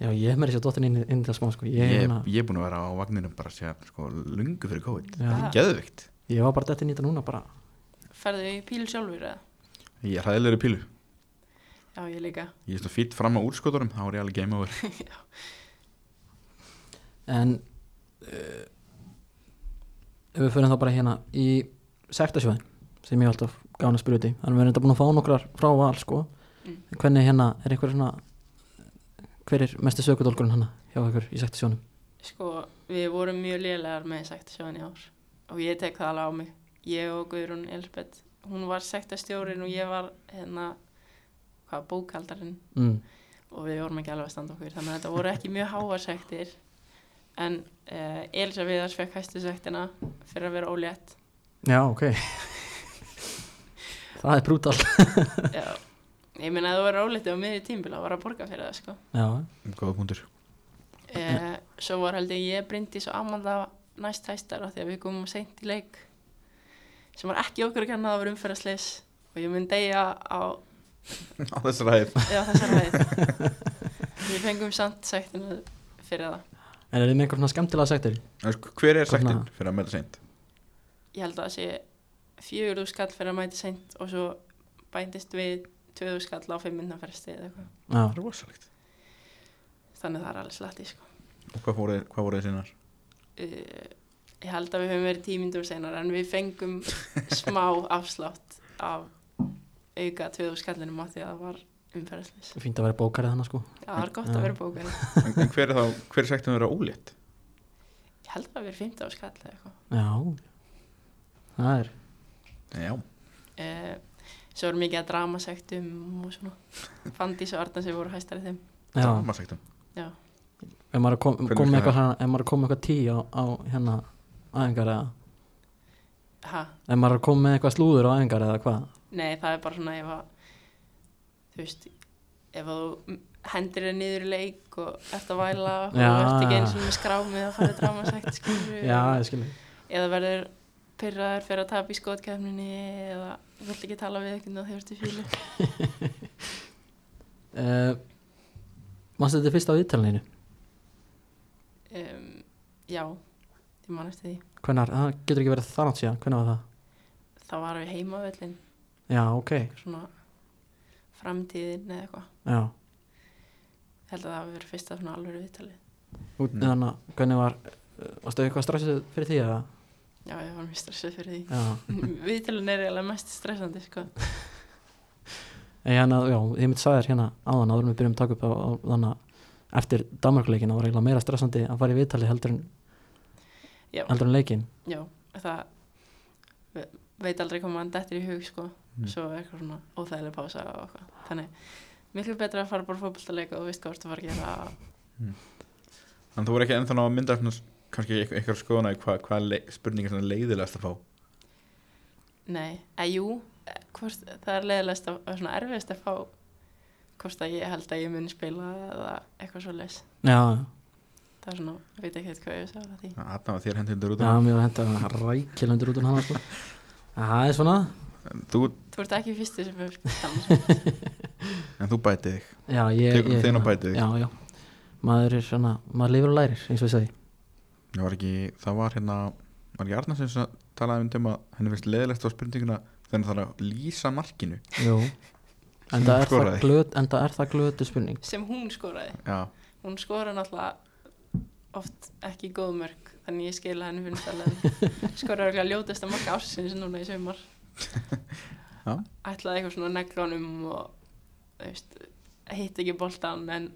A: já ég hef mér sér dóttin inn, inn í það smá sko, ég,
B: ég,
A: hérna,
B: ég er búin að vera á vagninum bara sér sko lungu fyrir COVID
A: Já.
B: það er geðvikt,
A: ég var bara dættin í þetta núna bara,
C: Ferðu í pílu sjálfur eða?
B: ég er hæðilegri pílu
C: Já, ég líka.
B: ég er svona fýtt fram á útskotunum, þá er ég alveg game over
A: en uh, ef við förum þá bara hérna í sektasjóðin sem ég er alltaf gáðan að spyrja út í þannig að við erum þetta búin að fá nokkrar frá val sko.
C: Mm.
A: En hvernig hérna er einhver svona hver er mestu sökudólkurinn hana hjá ykkur í sektasjónum
C: Sko, við vorum mjög lélegar með sektasjóðan í ár og ég tek það alveg á mig. Ég og Guðrún Elisabeth, hún var sektastjórin og ég var hérna, hvað, bókaldarinn.
A: mm.
C: og við vorum ekki alveg að standa okkur þannig að þetta voru ekki mjög háar sektir en uh, Elsa Viðars fekk hæstu sektina fyrir að vera ólétt
A: já ok það er brútal
C: Já. ég meina að þú verður ólétt á miðri tímbil að vera að borga fyrir það sko.
A: já,
B: góða punktur
C: uh, svo var held ég ég Bryndís og Amanda næst hæstar af því að við komum seint í leik sem var ekki okkur að kenna að vera umferðasleis og ég mun deyja á
B: á þessar hæð
C: já, þessar hæð við fengum samt sektina fyrir það
A: En er þið með einhver svona skemmtilega sektir?
B: En sko, hver er
A: Þarna-
B: sættin fyrir að melda seint?
C: Ég held að það sé fjögur úr skall fyrir að mæta seint og svo bætist við tvöður skall á fimm minna fresti eða eitthvað.
A: Já,
B: Rosalegt
C: Þannig það er alveg slatti, sko.
B: Og hvað voru, hvað voru þið sínar?
C: Uh, ég held að við höfum verið tímindur senar en við fengum smá afslátt af auka tvöður skallinum að því að það var umferðslis.
A: fínt að vera bókarið þannig sko
C: Já, það var gott að vera bókari.
B: En, en hver er þá, hver er sættin vera ólétt?
C: Ég held að það hafi verið fimmta á skall eða eitthvað.
A: Já Það er
B: Já,
C: Uh, svo er mikið að dramasektum og svona. Fandís og Arnansi voru hæstar í þeim.
A: Já,
B: dramasektum
C: Já.
A: ef maður er að kom,
B: Hvernig
A: kom
B: virkar
A: með eitthvað svona- ef maður er að kom með eitthvað tí á, á hérna æfingar eða
C: Ha,
A: Ef maður er að kom með eitthvað slúður á æfingar eða hvað
C: nei, það er bara svona ef að, þú veist, ef að þú hendir þér niður í leik og ert að væla og
A: Já.
C: ert ekki eins og með skrámið að fara dramasekt, skilur við.
A: Já, ég skilji
C: eða verður pyrraður fyrir að tapa í skotkefninni eða vilt ekki tala við einhvern og þeir eru fílu
A: uh, Manstu þetta fyrst á viðtalinu?
C: um, já, ég man eftir því
A: Hvenar, það getur ekki verið þannig síðan, hvenar var það?
C: þá varum við heimavöllin
A: Já, ok,
C: svona framtíðin eða eitthvað
A: já
C: Ég held að það hafi verið fyrsta svona alvöru viðtalið
A: Út,
B: Mm.
A: Þannig að hvernig var, eh, varstu eitthvað stressið fyrir því eða?
C: já, ég var mjög stressið fyrir því
A: Já
C: viðtalin er eiginlega mest stressandi sko.
A: En hérna, já, ég mitt sagði þér hérna áðan áður en við byrjum að taka upp á, á þannig að eftir Danmarkuleikin var eiginlega meira stressandi að fara í viðtali heldur en,
C: Já.
A: heldur en leikin
C: já, það ve- veit aldrei hvað mann dettir í hug sko.
B: Mm.
C: svo er eitthvað svona óþægileg pása og eitthvað. þannig, miklu betra að fara bara fótboltaleika og þú veist hvað þú ert að fara að gera
B: En þú voru ekki ennþá ná að mynda svona, kannski eit- eitthvað skoðuna í hvað hva spurningar svona leiðilegast að fá
C: Nei, að jú, eh, hvort, það er leiðilegast að, að svona erfiðast að fá hvort að ég held að ég muni spila eða eitthvað svo leis.
A: Já,
C: Það er svona, ég veit ekki hvað ég á að segja frá því.
B: Aðna var þér hendur út um
A: já, mér var henda rækilendur út um hana sko. Það er svona,
B: en þú,
C: Þú ert ekki fyrstu sem hefur spilað.
B: en þú bætið þig
A: já, ég
B: Tekur
A: ég-
B: þinn og bætir þig.
A: Já, já, maður er svona, maður lifir og lærir, eins og ég segi
B: Það var ekki, það var hérna var ekki Arnar sem svona talaði um tema henni finnst leiðilegt á spurninguna þegar það er að lýsa markinu
A: Jú En það er það
B: Skoraði.
A: glöt, en það er það glötu spurning
C: sem hún skoraði.
B: Já,
C: Hún skoraði náttúrulega oft ekki góð mörg, þannig ég skila henni finnst alveg. Skoraði ekki að ljótast að marka ársins núna í saumar.
B: Já.
C: Ætlaði eitthvað svona neglunum og þú veist, hitt ekki boltan en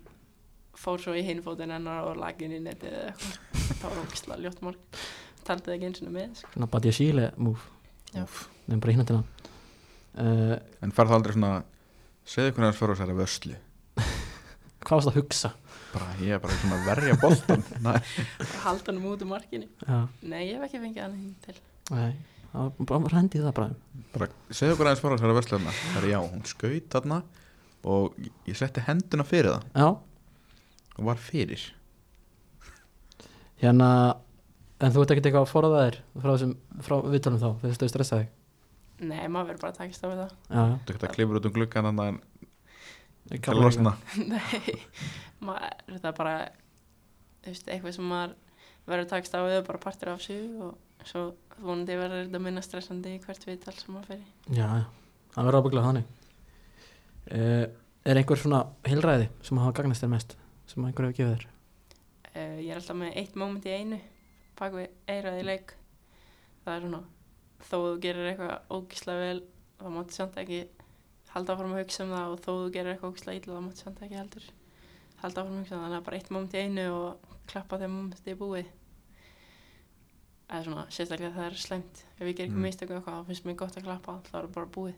C: fór svo í hinfótinn hennar og lakin í netið eða eitthvað. Það var ógislega ljótt mark. Taldi það ekki eins og með. Sko.
A: Svona bat ég síle múf
C: Já.
A: Nefnum bara hinn að tina uh,
B: en fær það aldrei svona segðu hvernig hans fyrir að særa vöslu
A: Hvað varst það að hugsa?
B: bara ég er bara svona að verja boltan Nei,
C: sko. Haldi hann út úr markinu.
A: Já,
C: Nei, ég hef ekki fengið hann hinn til.
A: nei Það var bara hendið það bræðum
B: bara segðu hvernig hans fyrir að særa vöslu þarna það er hérna. já, hún skaut þarna og ég setti henduna fyrir það
A: Já,
B: og var fyrir
A: Hérna, en þú ert ekkert eitthvað að forða þér frá þessum, frá viðtalum þá, þegar þú stressaði
C: Nei, maður verður bara að takast á við það.
A: Já,
B: þú getur að klifur út um gluggan þarna en
A: já
B: til að losna
C: Nei, maður, það er bara þú veist, eitthvað sem maður verður takst á við og bara partur af sig og svo vonandi verður þetta minna stressandi í hvert viðtal sem maður fer í.
A: Já, já, það verður ábygglega þannig uh, Er einhver svona heilræði sem hafa gagnast þér mest sem einhver hefur gefið þér?
C: Uh, ég er alltaf með eitt moment í einu bak við eirað í leik það er svona, þó þú gerir eitthvað ógislega vel, þá máttu samt ekki halda áfram að hugsa um það og þó þú gerir eitthvað ógislega illa, þá máttu samt ekki heldur halda áfram að hugsa um það, þannig að bara eitt moment í einu og klappa þegar momentið er búið eða svona, sérstaklega það er slæmt ef ég ger
B: Mm.
C: ekki mistöku eitthvað, þá finnst mér gott að klappa þá er það bara búið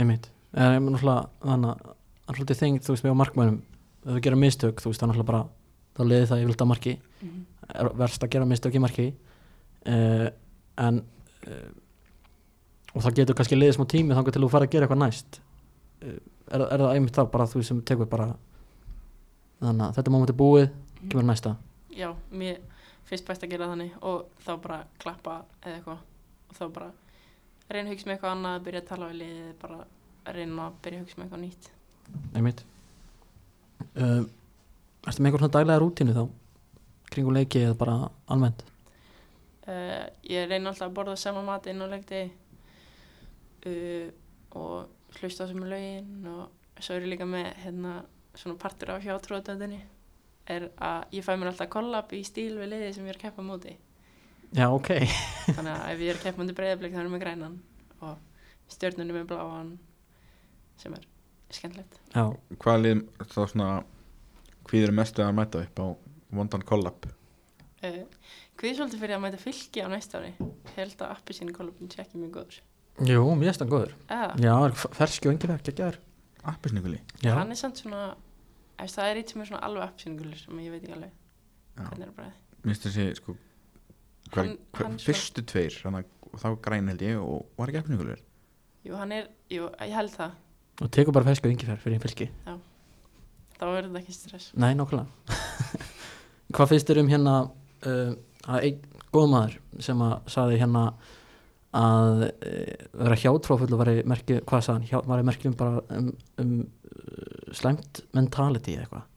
A: Einmitt, er einmitt náttúrulega þannig að það er svolítið þing, þú veist, með á markmænum ef þú gerir mistök, þú veist, það er náttúrulega bara þá liði það yfirleitt að marki er verst að gera mistök í marki uh, en uh, og það getur kannski liðið smá tími þangar til þú fara að gera eitthvað næst uh, er, er það einmitt þá bara þú sem tekur bara þannig að þetta moment er búið kemur næsta
C: já, mér finnst best að gera þannig og þá bara klappa eða eitthvað og þá bara reyna að hugsa með eitthvað annað, byrja að tala við liðið bara reyna að byrja að hugsa með eitthvað nýtt
A: Ehm, einmitt uh, Erstu með einhver svona daglega rútínu þá kringum leiki eða bara almennt?
C: Uh, ég reyni alltaf að borða sama mat inn á leikti uh, og hlusta á sem lögin og svo er ég líka með hérna, svona partur af hjátrúðatöndinni er að ég fæ mér alltaf kollab í stíl við liðið sem ég er að keppa á móti
A: Já, ok.
C: þannig að ef ég er að keppa múti breyðablik þá erum við grænan og stjörnunum er bláan sem er skemmtilegt
A: Já,
B: Hvað lið þá svona Hvíð er mestu að mæta upp á Vondan Collab
C: uh, Hvað er svolítið fyrir að mæta fylki á næsta ári? Ég held að appi síni kollabin sé ekki mjög góður
A: jú, mér er stann góður.
C: eða,
A: Já, er f- ferski og yngilega, geggjaður.
B: Appisninguli
A: Já,
C: hann er samt svona ef það er eitt sem er svona alveg appi síni gulur sem ég veit ekki alveg
B: Já.
C: hvernig er að bræða
B: Minnst þessi sko hver,
C: Hann-
B: hver,
C: hann sko-
B: Fyrstu tveir hana, Þá græn held ég og var ekki appisninguli
C: Jú, hann er, jú, ég held það
A: og tekur bara ferski og yngilega fyrir ferski.
C: þá verður þetta ekki stress
A: Nei, nokkulega. Hvað finnst þér um hérna uh, að einn góð maður sem að saði hérna að uh, vera hjátrúfull og veri merki, hvað sagði hann, hjá, var merki um bara um, um uh, slæmt mentality eða eitthvað.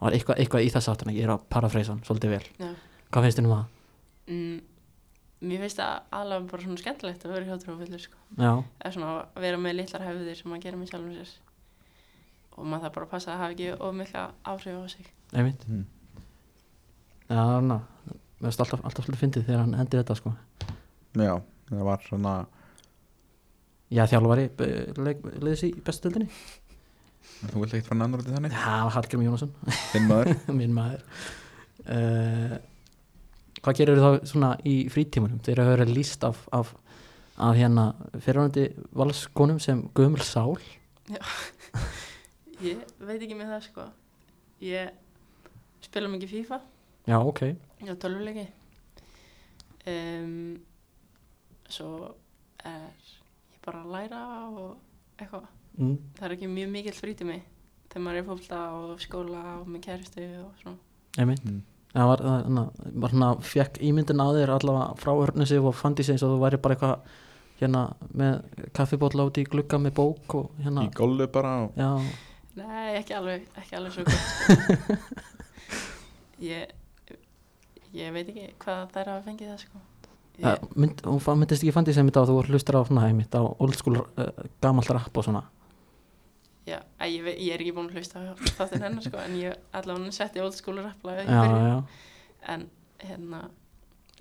A: Það var eitthvað, eitthvað í þess aftan, ég er að parafreysa hann svolítið vel.
C: Já.
A: Hvað finnst þér um það?
C: mm, Mér finnst það alveg bara svona skemmtilegt að vera hjátrúfullur sko.
A: Já,
C: eða svona að vera með litlar hefðir sem maður gerir með sjálfum sér og maður þarf bara að passa að hafa ekki of mikla áhrif á sig
A: einmitt.
B: mm.
A: Já, það er hana. Mér finnst alltaf, alltaf svolítið fyndið þegar hann endir þetta sko.
B: Já, það var svona
A: Já, þjálfari, leiðis í bestu dildinni.
B: Þú vilt ekkert fara nánar út í þannig
A: Já, Hallgrim Jónasson.
B: Þinn maður
A: minn maður uh, hvað gerir þá svona í frítímanum þeir eru að vera líst af, af, af hérna fyrirhandi valskonum sem gömul sál
C: Ég veit ekki með það sko Ég spila mikið FIFA
A: já ok,
C: Já, tölvuleiki um, Svo er ég bara að læra og eitthvað
A: mm,
C: Það er ekki mjög mikill frítími þegar maður er fólta og skóla og með kæristu og svona
A: einmitt
B: Mm.
A: það var, það, hana, var hana, fekk ímyndin að þér allavega frá örnu sig og fandi sig eins og þú væri bara eitthvað hérna með kaffibótla út í glugga með bók og hérna
B: Í gollu bara og
A: já,
C: Nei, ekki alveg, ekki alveg svo gott sko. ég, ég veit ekki hvað þær hafa fengið það sko
A: yeah.
C: ég,
A: mynd, hún fa- myndist ekki fandi sig einmitt á að þú voru hlustar á svona einmitt á old school uh, gamalt rap og svona
C: já, æ, ég, veit- ég er ekki búin að hlusta á þáttinn hennar sko en ég allavega hann setti old school rappla í
A: já,
C: byrjun.
A: já,
C: en hérna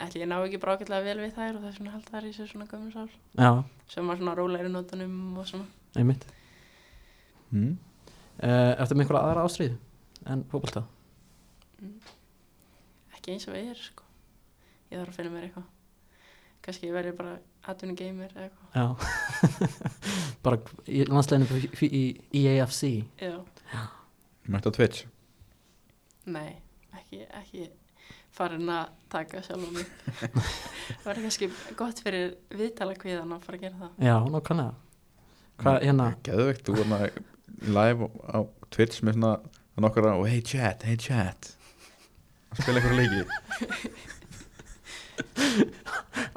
C: ætli ég ná ekki brákjallega vel við þær og það er svona held þær í sér svona gömur sál
A: já,
C: sem var svona rólegri nótunum og svona
A: einmitt
B: mm.
A: Uh, eftir með einhverja aðra ástríðu en fókbalta
C: Mm. ekki eins og ég er sko ég þarf að finna mér eitthvað kannski ég verði bara atvinni gamer eða eitthvað
A: Já Bara í landsleginu f- f- í EAFC
C: já,
B: Mætt á Twitch
C: nei, ekki, ekki farin að taka sjálf mig það var kannski gott fyrir viðtala kviðan að fara að gera það
A: Já, nákvæmlega Hvað, hérna,
B: Geðvegt, þú var live á á Twitch með svona nokkara og hey chat, hey chat að spila eitthvað leiki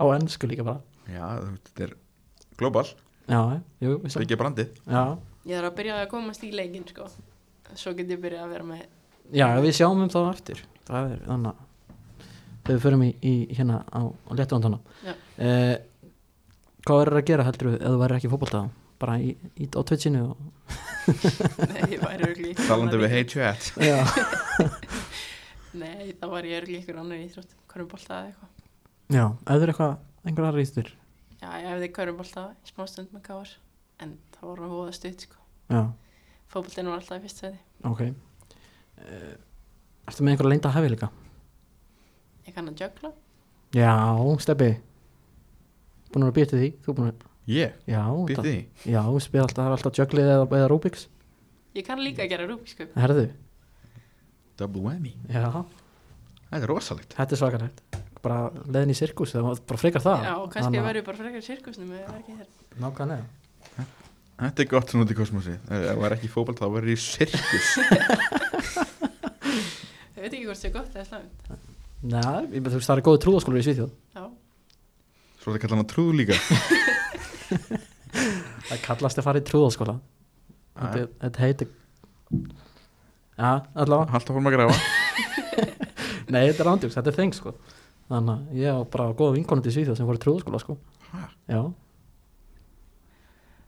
A: á ennsku líka bara
B: Já, þú veist, þetta er global,
A: Já, jú, við sem
B: byggja brandið
A: Já,
C: ég þarf að byrja að komast í leikin sko svo get ég byrja að vera með
A: já við sjáum um það á eftir Það er þannig að þegar við förum í, í hérna á, á léttuvandana
C: Já.
A: uh, Hvað verður að gera heldur ef þú værir ekki fókbalta bara í, í, á Twitchinu og...
C: nei, ég væri örugglega í-
B: talandi við hey chat
A: Já,
C: nei, þá var ég örgli ykkur annar íþrótt körnbólta eða eitthvað
A: já ef þú er eitthvað, einhverjar rýstur
C: já, ég hefði körnbólta í smá stund með káar en það voru hóða stutt sko
A: Já
C: fókbóltinn var alltaf í fyrst sæti
A: Ok uh, Ertu með einhverja leynda hefði líka?
C: ég kann að jökla
A: Já, steppi Búin að býja til því Þú búin að
B: Ég,
A: Já,
B: býtti
A: það,
B: því
A: já spil alltaf, það er alltaf jöglið eða, eða Rubik's
C: Ég kann líka að gera sko. rúbísköp.
A: Herðu
B: Double whammy,
A: Já,
B: þetta er rosalegt
A: þetta er svakalegt Bara leiðin í sirkus Það var bara frekar það
C: Já, og
A: Ah,
C: kannski
A: Þannig að-
C: verður ég bara frekar í sirkusnum eða ekki þér.
A: Nákvæmlega
B: Þetta er gott svona út í kosmosi Ef það var ekki fókbalt þá verður ég sirkus
C: Ég veit ekki hvort það er gott eða slæmt.
A: Nei, ég- þú veist það er góði trúðaskólar í Svíþjóð
C: Já,
B: Svo þetta kalla hana trú líka
A: Það kallast að fara í trúðaskóla
B: Jæja.
A: Þetta þetta heitir Já, allavega
B: Hallt að fórum að grafa
A: Nei, þetta er ándjóks, þetta er þeng sko Þannig að ég á bara góða vinkonandi í Svíþjóð sem voru trúðaskóla sko
B: Ha?
A: Já,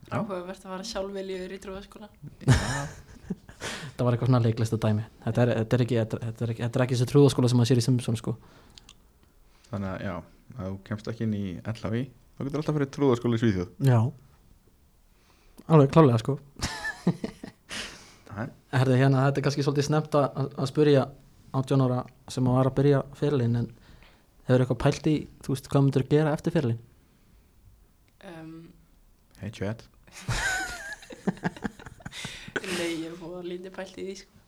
B: Já.
C: áhugavert að vara sjálfveljöður í trúaskóla
A: þetta var eitthvað svona leiklista dæmi Þetta er, þetta er ekki, þetta er- þetta er ekki, þetta er ekki þessi trúðaskóla sem maður sér í Simpson sko
B: Þannig að já, ef þú kemst ekki inn í LHV þá getur alltaf fyrir trúðaskóla í Svíþjóð
A: Já Alveg klálega sko
B: Það er
A: Herði hérna, þetta er kannski svolítið snemt að, að spyrja 18 ára sem að var að byrja fyrirlin en hefur eitthvað pælt í, þú veist, hvað myndir gera eftir fyrirlin?
C: um,
B: Hey chat
C: Nei, ég er fóða lítið pælt í því sko.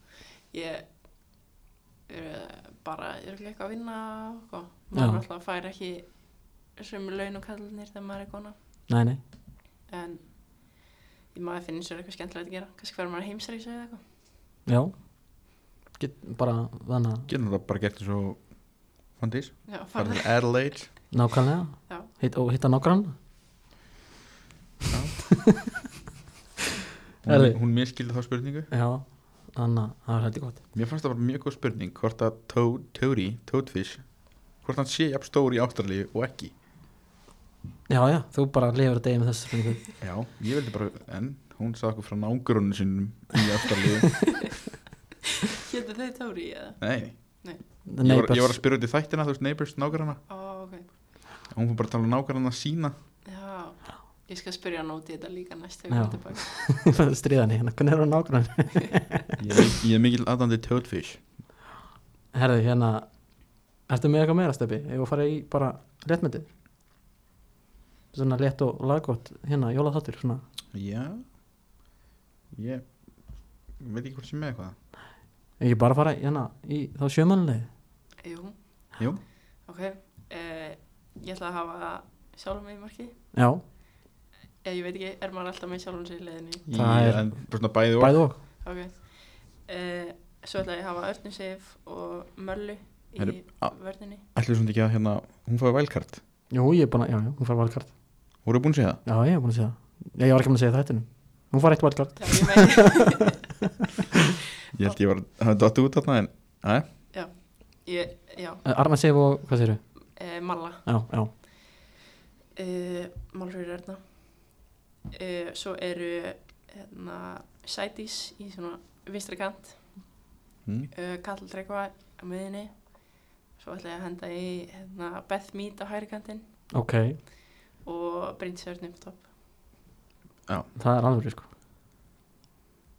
C: Ég er eh, bara, ég er eitthvað að vinna og eitthvað.
A: Já.
C: Maður alltaf fær ekki sömu laun og kallinir þegar maður er kona.
A: Nei, nei,
C: En ég maður finnir sér eitthvað skemmtilegt að gera. Kannski verður maður heimsreysa eða eitthvað.
A: já Get, bara þannig að
B: Getur þetta bara gert eins og Fandís
C: Já,
B: Fara
C: farðu.
B: til Adelaide
A: nákvæmlega
C: Já.
A: Hitt, og hitta nákvæmlega
B: Hún,
A: Herri.
B: hún miskildi þá spurningu
A: Já, þannig að það er heldur gott
B: Mér fannst það bara mjög góð spurning hvort að tó- Tóri, Toadfish hvort hann sé jafn stór í ástralíu og ekki
A: Já, já, þú bara lifir að degi með þessu sko, spurningu
B: Já, ég vildi bara, en hún sagði okkur frá nágrunum sínum í ástralíu
C: Hétu þau Tóri eða?
B: Nei, ég var,
A: Neighbours,
B: ég var að spyrja út í þættina, þú veist, neighbors, nágrana
C: Ó, ok.
B: Hún fór bara að tala um nágrana sína
C: Já, ég skal spyrja hann út í þetta líka næst
A: Já.
C: þegar ég er tilbaka.
A: stríðan í hérna, hvernig er hún nákvæmlega
B: Ég, er- ég er mikil aðdandi Toadfish
A: Herðu, hérna, ertu með eitthvað meira steppi? Ég var að fara í bara léttmyndið Svona létt og laggott, hérna, jólaþáttur, svona
B: Já Ég veit ekki hvort sem með eitthvað
A: Ekki bara fara, hérna, í þá sjömanlega
C: Jú,
B: Jú,
C: ok. Uh, ég ætla að hafa sjálfum mig í marki.
A: Já,
C: Eða ég veit ekki, er maður alltaf með sjálfum sig í leiðinni?
A: Það
B: ég,
A: er-
B: en bara svona bæði og
A: bæði og
C: Ok uh, Svo ætla ég að hafa Örnusif og Möllu í
B: Heyrðu, a-
C: vörninni
B: Ætlum svona ekki að hérna, hún fóði vælkart
A: Jú, ég er búin að, já, já, hún fær valkart
B: Voru búin að segja það?
A: Já, ég er búin að segja það Já, ég var ekki búin að segja það hættunum Hún fær eitt valkart
C: Já, ég meina
B: Ég held ég var að hafa dottu út þarna en Æ,
C: ég, Já,
A: Arna Eh, Sif og, hvað segirðu?
C: uh, Malla
A: Já, já,
C: uh, Málfröður Erna uh, Svo eru hérna, Sætis í svona vinstri kant
B: hm,
C: uh, Kall Dregva á miðinni Svo ætla ég að henda í hérna, Beth Mead á hægri kantinn
A: ok
C: og Bryndis Örnum topp
A: Það er alveg, sko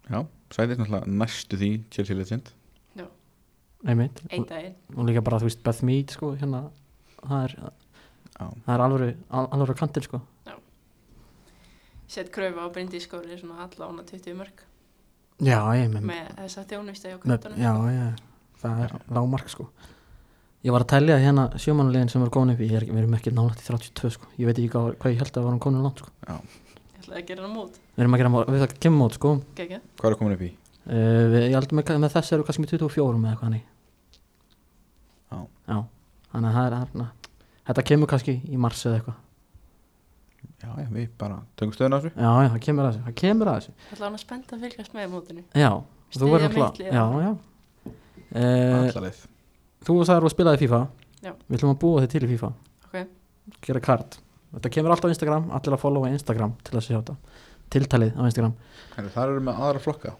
B: já, sæðið náttúrulega næstu því Chelsea Legend
A: Einmitt
C: Einn daginn
A: og líka bara þú veist Beth Mead sko hérna það er,
B: Já,
A: það er alvöru, al, alvöru kantil sko
C: Sett kröfu á Bryndis skóri svona allan 20 mörg
A: já ég með,
C: með þess að þjónustu á
A: með
C: kvöldunum
A: já ég það er lágmark sko ég var að tellja hérna sjömanulegin sem er komin upp í ég er, við erum ekki nálægt í 32 sko ég veit ekki hvað, hvað ég held að varum komin langt sko
C: ég ætlaði að gera hana mút
A: við erum ekki að við það kemum át sko uh,
C: Gekja.
B: hvað er komin upp í?
A: við, ég held með, með þess eru kannski með 24 með eitthvað hannig
B: Já.
A: já þannig að það er, það er þetta kemur kannski í mars eða eitthvað
B: Já, já, við bara tökum stöðuna á þessu
A: já já það kemur að þessu það kemur að þessu
C: ætlaði hann að spennt að fylgjast með mótinu
A: já þú
C: Styðja
A: verður
C: mitt
A: náttúrulega-
C: lið.
A: já já Eh,
B: Allarið
A: Þú sagðir að spilaði FIFA
C: Já.
A: Við ætlum að búa þig til í FIFA
C: Ok.
A: Gera kart Þetta kemur alltaf á Instagram Allir að followa Instagram til að sjá þetta Tiltalið á Instagram
B: Það eru með aðra flokka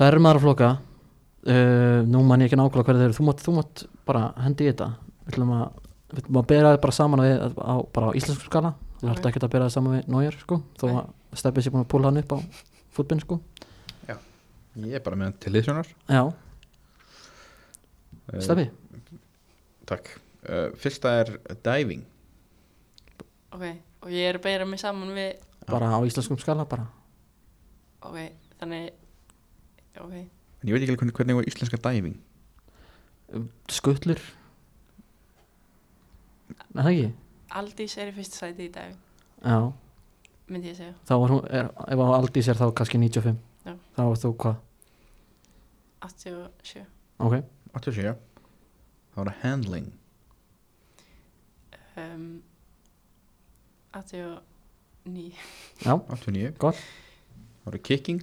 A: Það er maður að flokka uh, Nú man ég ekki nákvæmlega hverju þeir eru Þú mátt, þú mátt bara hendi í þetta Við ætlum að Við ætlum að bera þið bara saman við á, Bara á íslensku skala Þú
C: Ok.
A: ætlum ekkert að bera þið saman við Nóir sko Þó
C: Nei.
A: að steppið sér búin að púla hann upp á fútbinn sko
B: Ég er bara með hann til liðsjónar
A: Já,
B: Eh,
A: steppi
B: Takk uh, Fyrsta er diving
C: ok og ég er að beira mig saman við
A: Bara á íslenskum skala bara
C: ok þannig
B: En
C: ok
B: ég veit ekki alveg hvernig, hvernig var íslenska diving
A: Skuttlur Nei, það ekki?
C: Aldís er í fyrsta sæti í dag
A: Já
C: myndi ég segja
A: þá var hún, er, ef á Aldís er þá kannski 95
C: Já.
A: þá var þú hvað,
C: 87
A: ok
B: 87 Það var handling
C: um, 89
A: já,
B: 89
A: Gott.
B: Það var kicking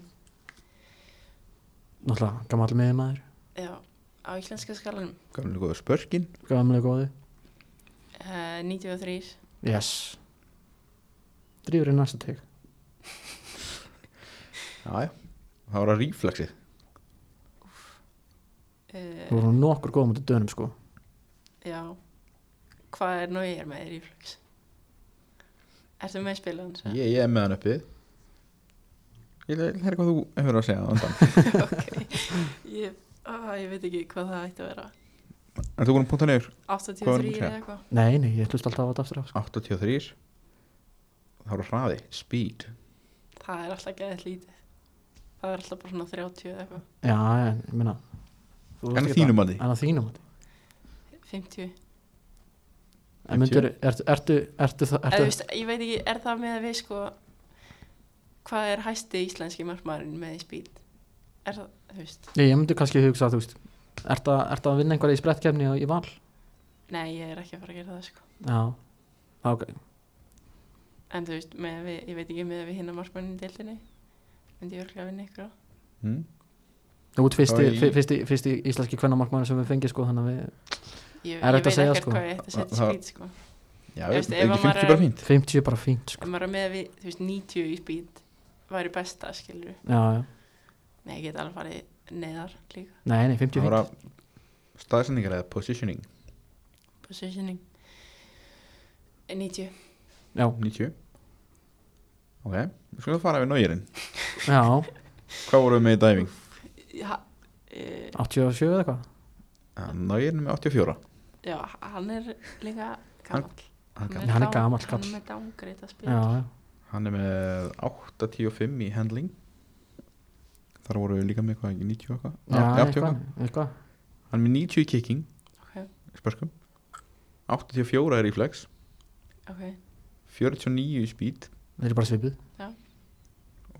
A: náttúrulega gammal miðmaður
C: já á íslenska skalanum
B: Gamlega góða spörkin
A: Gamlega góði
C: uh, 93
A: Yes Drífur í næsta teg
B: Jájá Það var að ríflexið
A: Þú
C: uh,
A: voru nokkur góð mútið dönum sko
C: já hvað er nú ég er með í reflux ertu með spilaðan svo?
B: Ég, ég er með hann uppi Ég vil hérna hvað þú hefur að segja á undan
C: ég, á, ég veit ekki hvað það ætti að vera
B: Er þú búin að punta neyður?
C: 83
B: Hvað var
C: eða
B: hún
C: eitthvað
A: Nei, nei, ég hlust alltaf á þetta aftur á sko.
B: 83 Það var hraði, speed
C: það er alltaf geðið lítið það er alltaf bara svona 30 eða eitthvað
A: Já, en, ég meina þú veist
B: En
A: ekki
B: þínum
A: það.
B: mati?
A: En að þínum mati
C: 50
A: En myndur, ertu, ertu, ertu, það-
C: Eða, þú
A: ertu
C: veist, ég veit ekki, er það með að við sko hvað er hæsti íslenski markmaðurinn með í spíl er það, þú veist,
A: Nei, ég myndi kannski hugsa að þú veist Ertu, að- ertu að vinna einhverja í sprettkefni í val?
C: nei ég er ekki að fara að gera það sko
A: Já, ok
C: en þú veist, með að við, ég veit ekki með að við hinna markmaðurinn í deildinni myndi ég örgulega vinna ykkur á
A: Hmm?
B: hm?
A: Þú ert fyrsti,
B: Þá í-
A: fyrsti, fyrsti, fyrsti íslenski kvennamarkmaður sem við fengið sko Þannig að við
C: ég, ég
A: Erfitt að
C: veit
A: segja,
C: ekkert
A: sko.
C: hvað ég ætti að setja
B: Það-
C: í spíl sko
B: Já,
C: Ég
B: er
C: veist, ef
B: ekki
C: að
B: 50
C: maður er-
B: bara fínt
A: 50 er bara fínt sko
C: ef maður er með að við, þú veist, 90 í spíl væri besta, skilur
A: Já, já,
C: nei, ég get alveg farið neðar líka
A: nei, nei, 50 er
B: Það var
A: fínt
B: að staðsendingar eða positioning
C: positioning 90
A: Já,
B: 90 Ok, við skulum fara við nógirinn
A: já,
B: Hvað vorum við með í dæfing?
C: ja, uh,
A: 87 eða eitthvað
B: Nógirinn með 84
C: já, hann er líka
B: Hann-
C: gamall
B: Hann
A: gamall. Hann er
C: dám-
A: gamall
C: hann
A: kall.
C: er með dángreitt að spila
A: Já, já,
B: Hann er með 85 í handling Þar voru við líka með hvað, ekki 90 og eitthvað?
A: já,
B: Nei, 80 og
A: eitthvað, eitthvað
B: eitthvað Hann er með 90 í kicking
C: Ok.
B: Spörskum 84 er reflex
C: ok,
B: 49 í speed
A: Það er bara svipið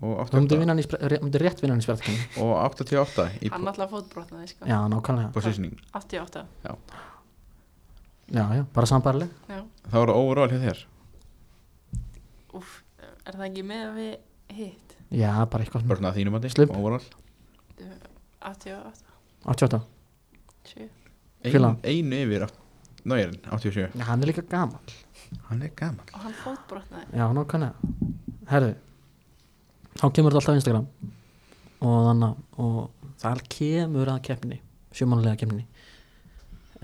B: Og
A: Þú myndir
B: 88,
A: vinna hann í spre- ré- myndir rétt vinna hann í sprettkefni
B: og 88 í
C: hann alltaf fótbrotnaði sko.
A: Já, nákvæmlega
B: positioning
C: 88
A: Já, já, bara sambarleg
C: já.
B: Það voru overall hjá þér
C: Úf, er það ekki með að við hitt
A: Já, bara eitthvað svona.
B: Bara svona að þínum að
A: Slump.
B: Overall
C: 88,
A: 88
C: sjö.
B: Ein,
A: Félag.
B: Einu yfir Nógirinn, 87
A: Já, hann er líka gaman
B: Hann er gaman
C: og hann fótbrotnaði
A: Já, nákvæmlega Herðu, þá kemur þetta alltaf á Instagram og þannig og það kemur að keppni sjömanlega keppni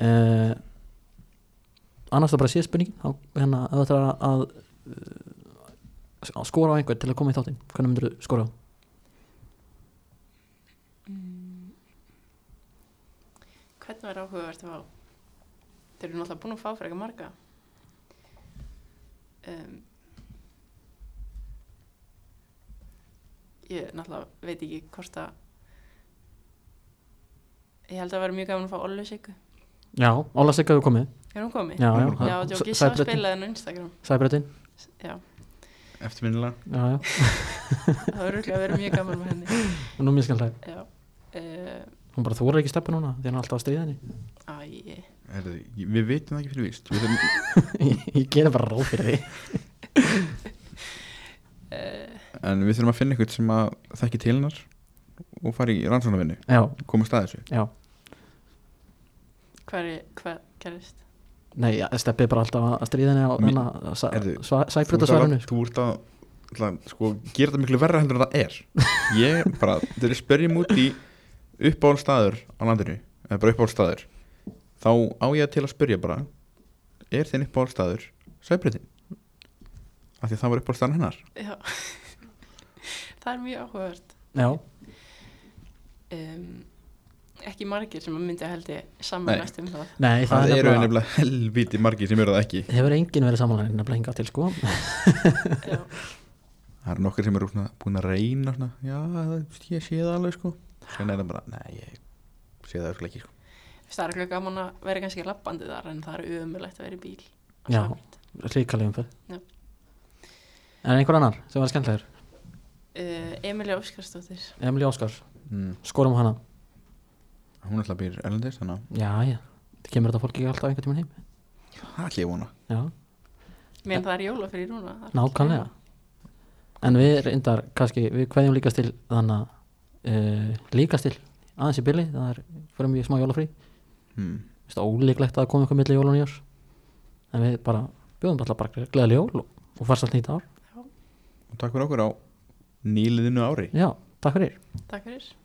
A: uh, annars það bara sé spurningin þá, hérna, ef þetta er að uh, að skora á einhvern til að koma í þáttinn hvernig myndir þú skora á?
C: hvernig var áhugavert að fá þeir eru náttúrulega búin að fá fyrir eitthvað marga um, ég náttúrulega veit ekki hvort að ég held að vera mjög gaman að fá Ollu Siggu
A: Já, Óla Sigga hefur komið
C: er hún komið?
A: Já,
B: Hún
A: já,
B: er
C: já
A: það-
C: djók, ég sá
A: Sæbrautin-
C: spilaði henni á Instagram
A: Sæbrautin
C: já,
B: Eftirminnilega
A: Já, já,
C: það var rúglega að vera mjög gaman með henni
A: nú mér skil það
C: já uh,
A: Hún bara þóra ekki steppa núna því hann er alltaf að stríða henni
C: æ,
B: Herðu, Við veitum það ekki fyrir víst Við þurfum-
A: Ég gerir bara ráð fyrir því
C: uh,
B: En við þurfum að finna eitthvað sem að þekki til hennar og fara í rannsónavinnu,
A: Já,
B: koma stað þessu
A: já
C: hvað er, hvað gerist?
A: Nei, ja, steppið bara alltaf að stríða henni á hérna
B: Mér- Heyrðu,
A: hennar
B: Þú ert að-
A: sæbrutasvarinu
B: Þú ert að ætla, sko, gera þetta miklu verra heldur en það er Ég bara, þegar ég spyrjum út í uppáhaldstaður á landinu eða bara uppáhaldstaður þá á ég til að spyrja bara er þinn uppáhaldstaður sæbreytin? Af því að það var uppáhaldstaðan hennar
C: já það er mjög áhugavert
A: Já,
C: um, ekki margir sem að myndi held ég samanlæst um það
A: nei, það,
B: Það
A: er
B: eru
A: nefnilega
B: nefnilega helviti margi sem eru það ekki
A: Hefur enginn verið samanlega nefnilega hingað til sko
C: já,
B: Það eru nokkur sem eru svona, búin að reyna svona, já, það, ég sé það alveg sko Sen er það bara, nei, ég sé það örugglega ekki sko
C: það er ekki gaman að vera kannski lappandi þar en það er umulegt að vera í bíl
A: Já.
C: uh,
A: Ríkalegum fyrir
C: Já.
A: En einhver annar sem var skemmtlegur
C: Emilia Eh, Óskarsdóttir
A: Emilí Óskar,
B: mm.
A: skorum hana
B: Hún alltaf býr erlendis, þannig
A: Já, já, það kemur þetta fólk ekki alltaf einhvern tímann heim
B: að það ætlum ég að vona
A: Já,
C: meðan það er jóla fyrir núna það er allir
A: nákvæmlega
C: heima.
A: En við reyndar, kannski, við kveðjum líkast til þannig að uh, líkast til aðeins í billi það er fyrir mjög smá jólafrí
B: hmm.
A: Vist, ólíklegt að það komi eitthvað milli jólun í árs en við bara bjóðum alltaf bara gleðileg jól og, og farsalt nýtt ár
B: og takk fyrir okkur á nýliðinu ári
A: já, takk fyrir
C: Takk fyrir.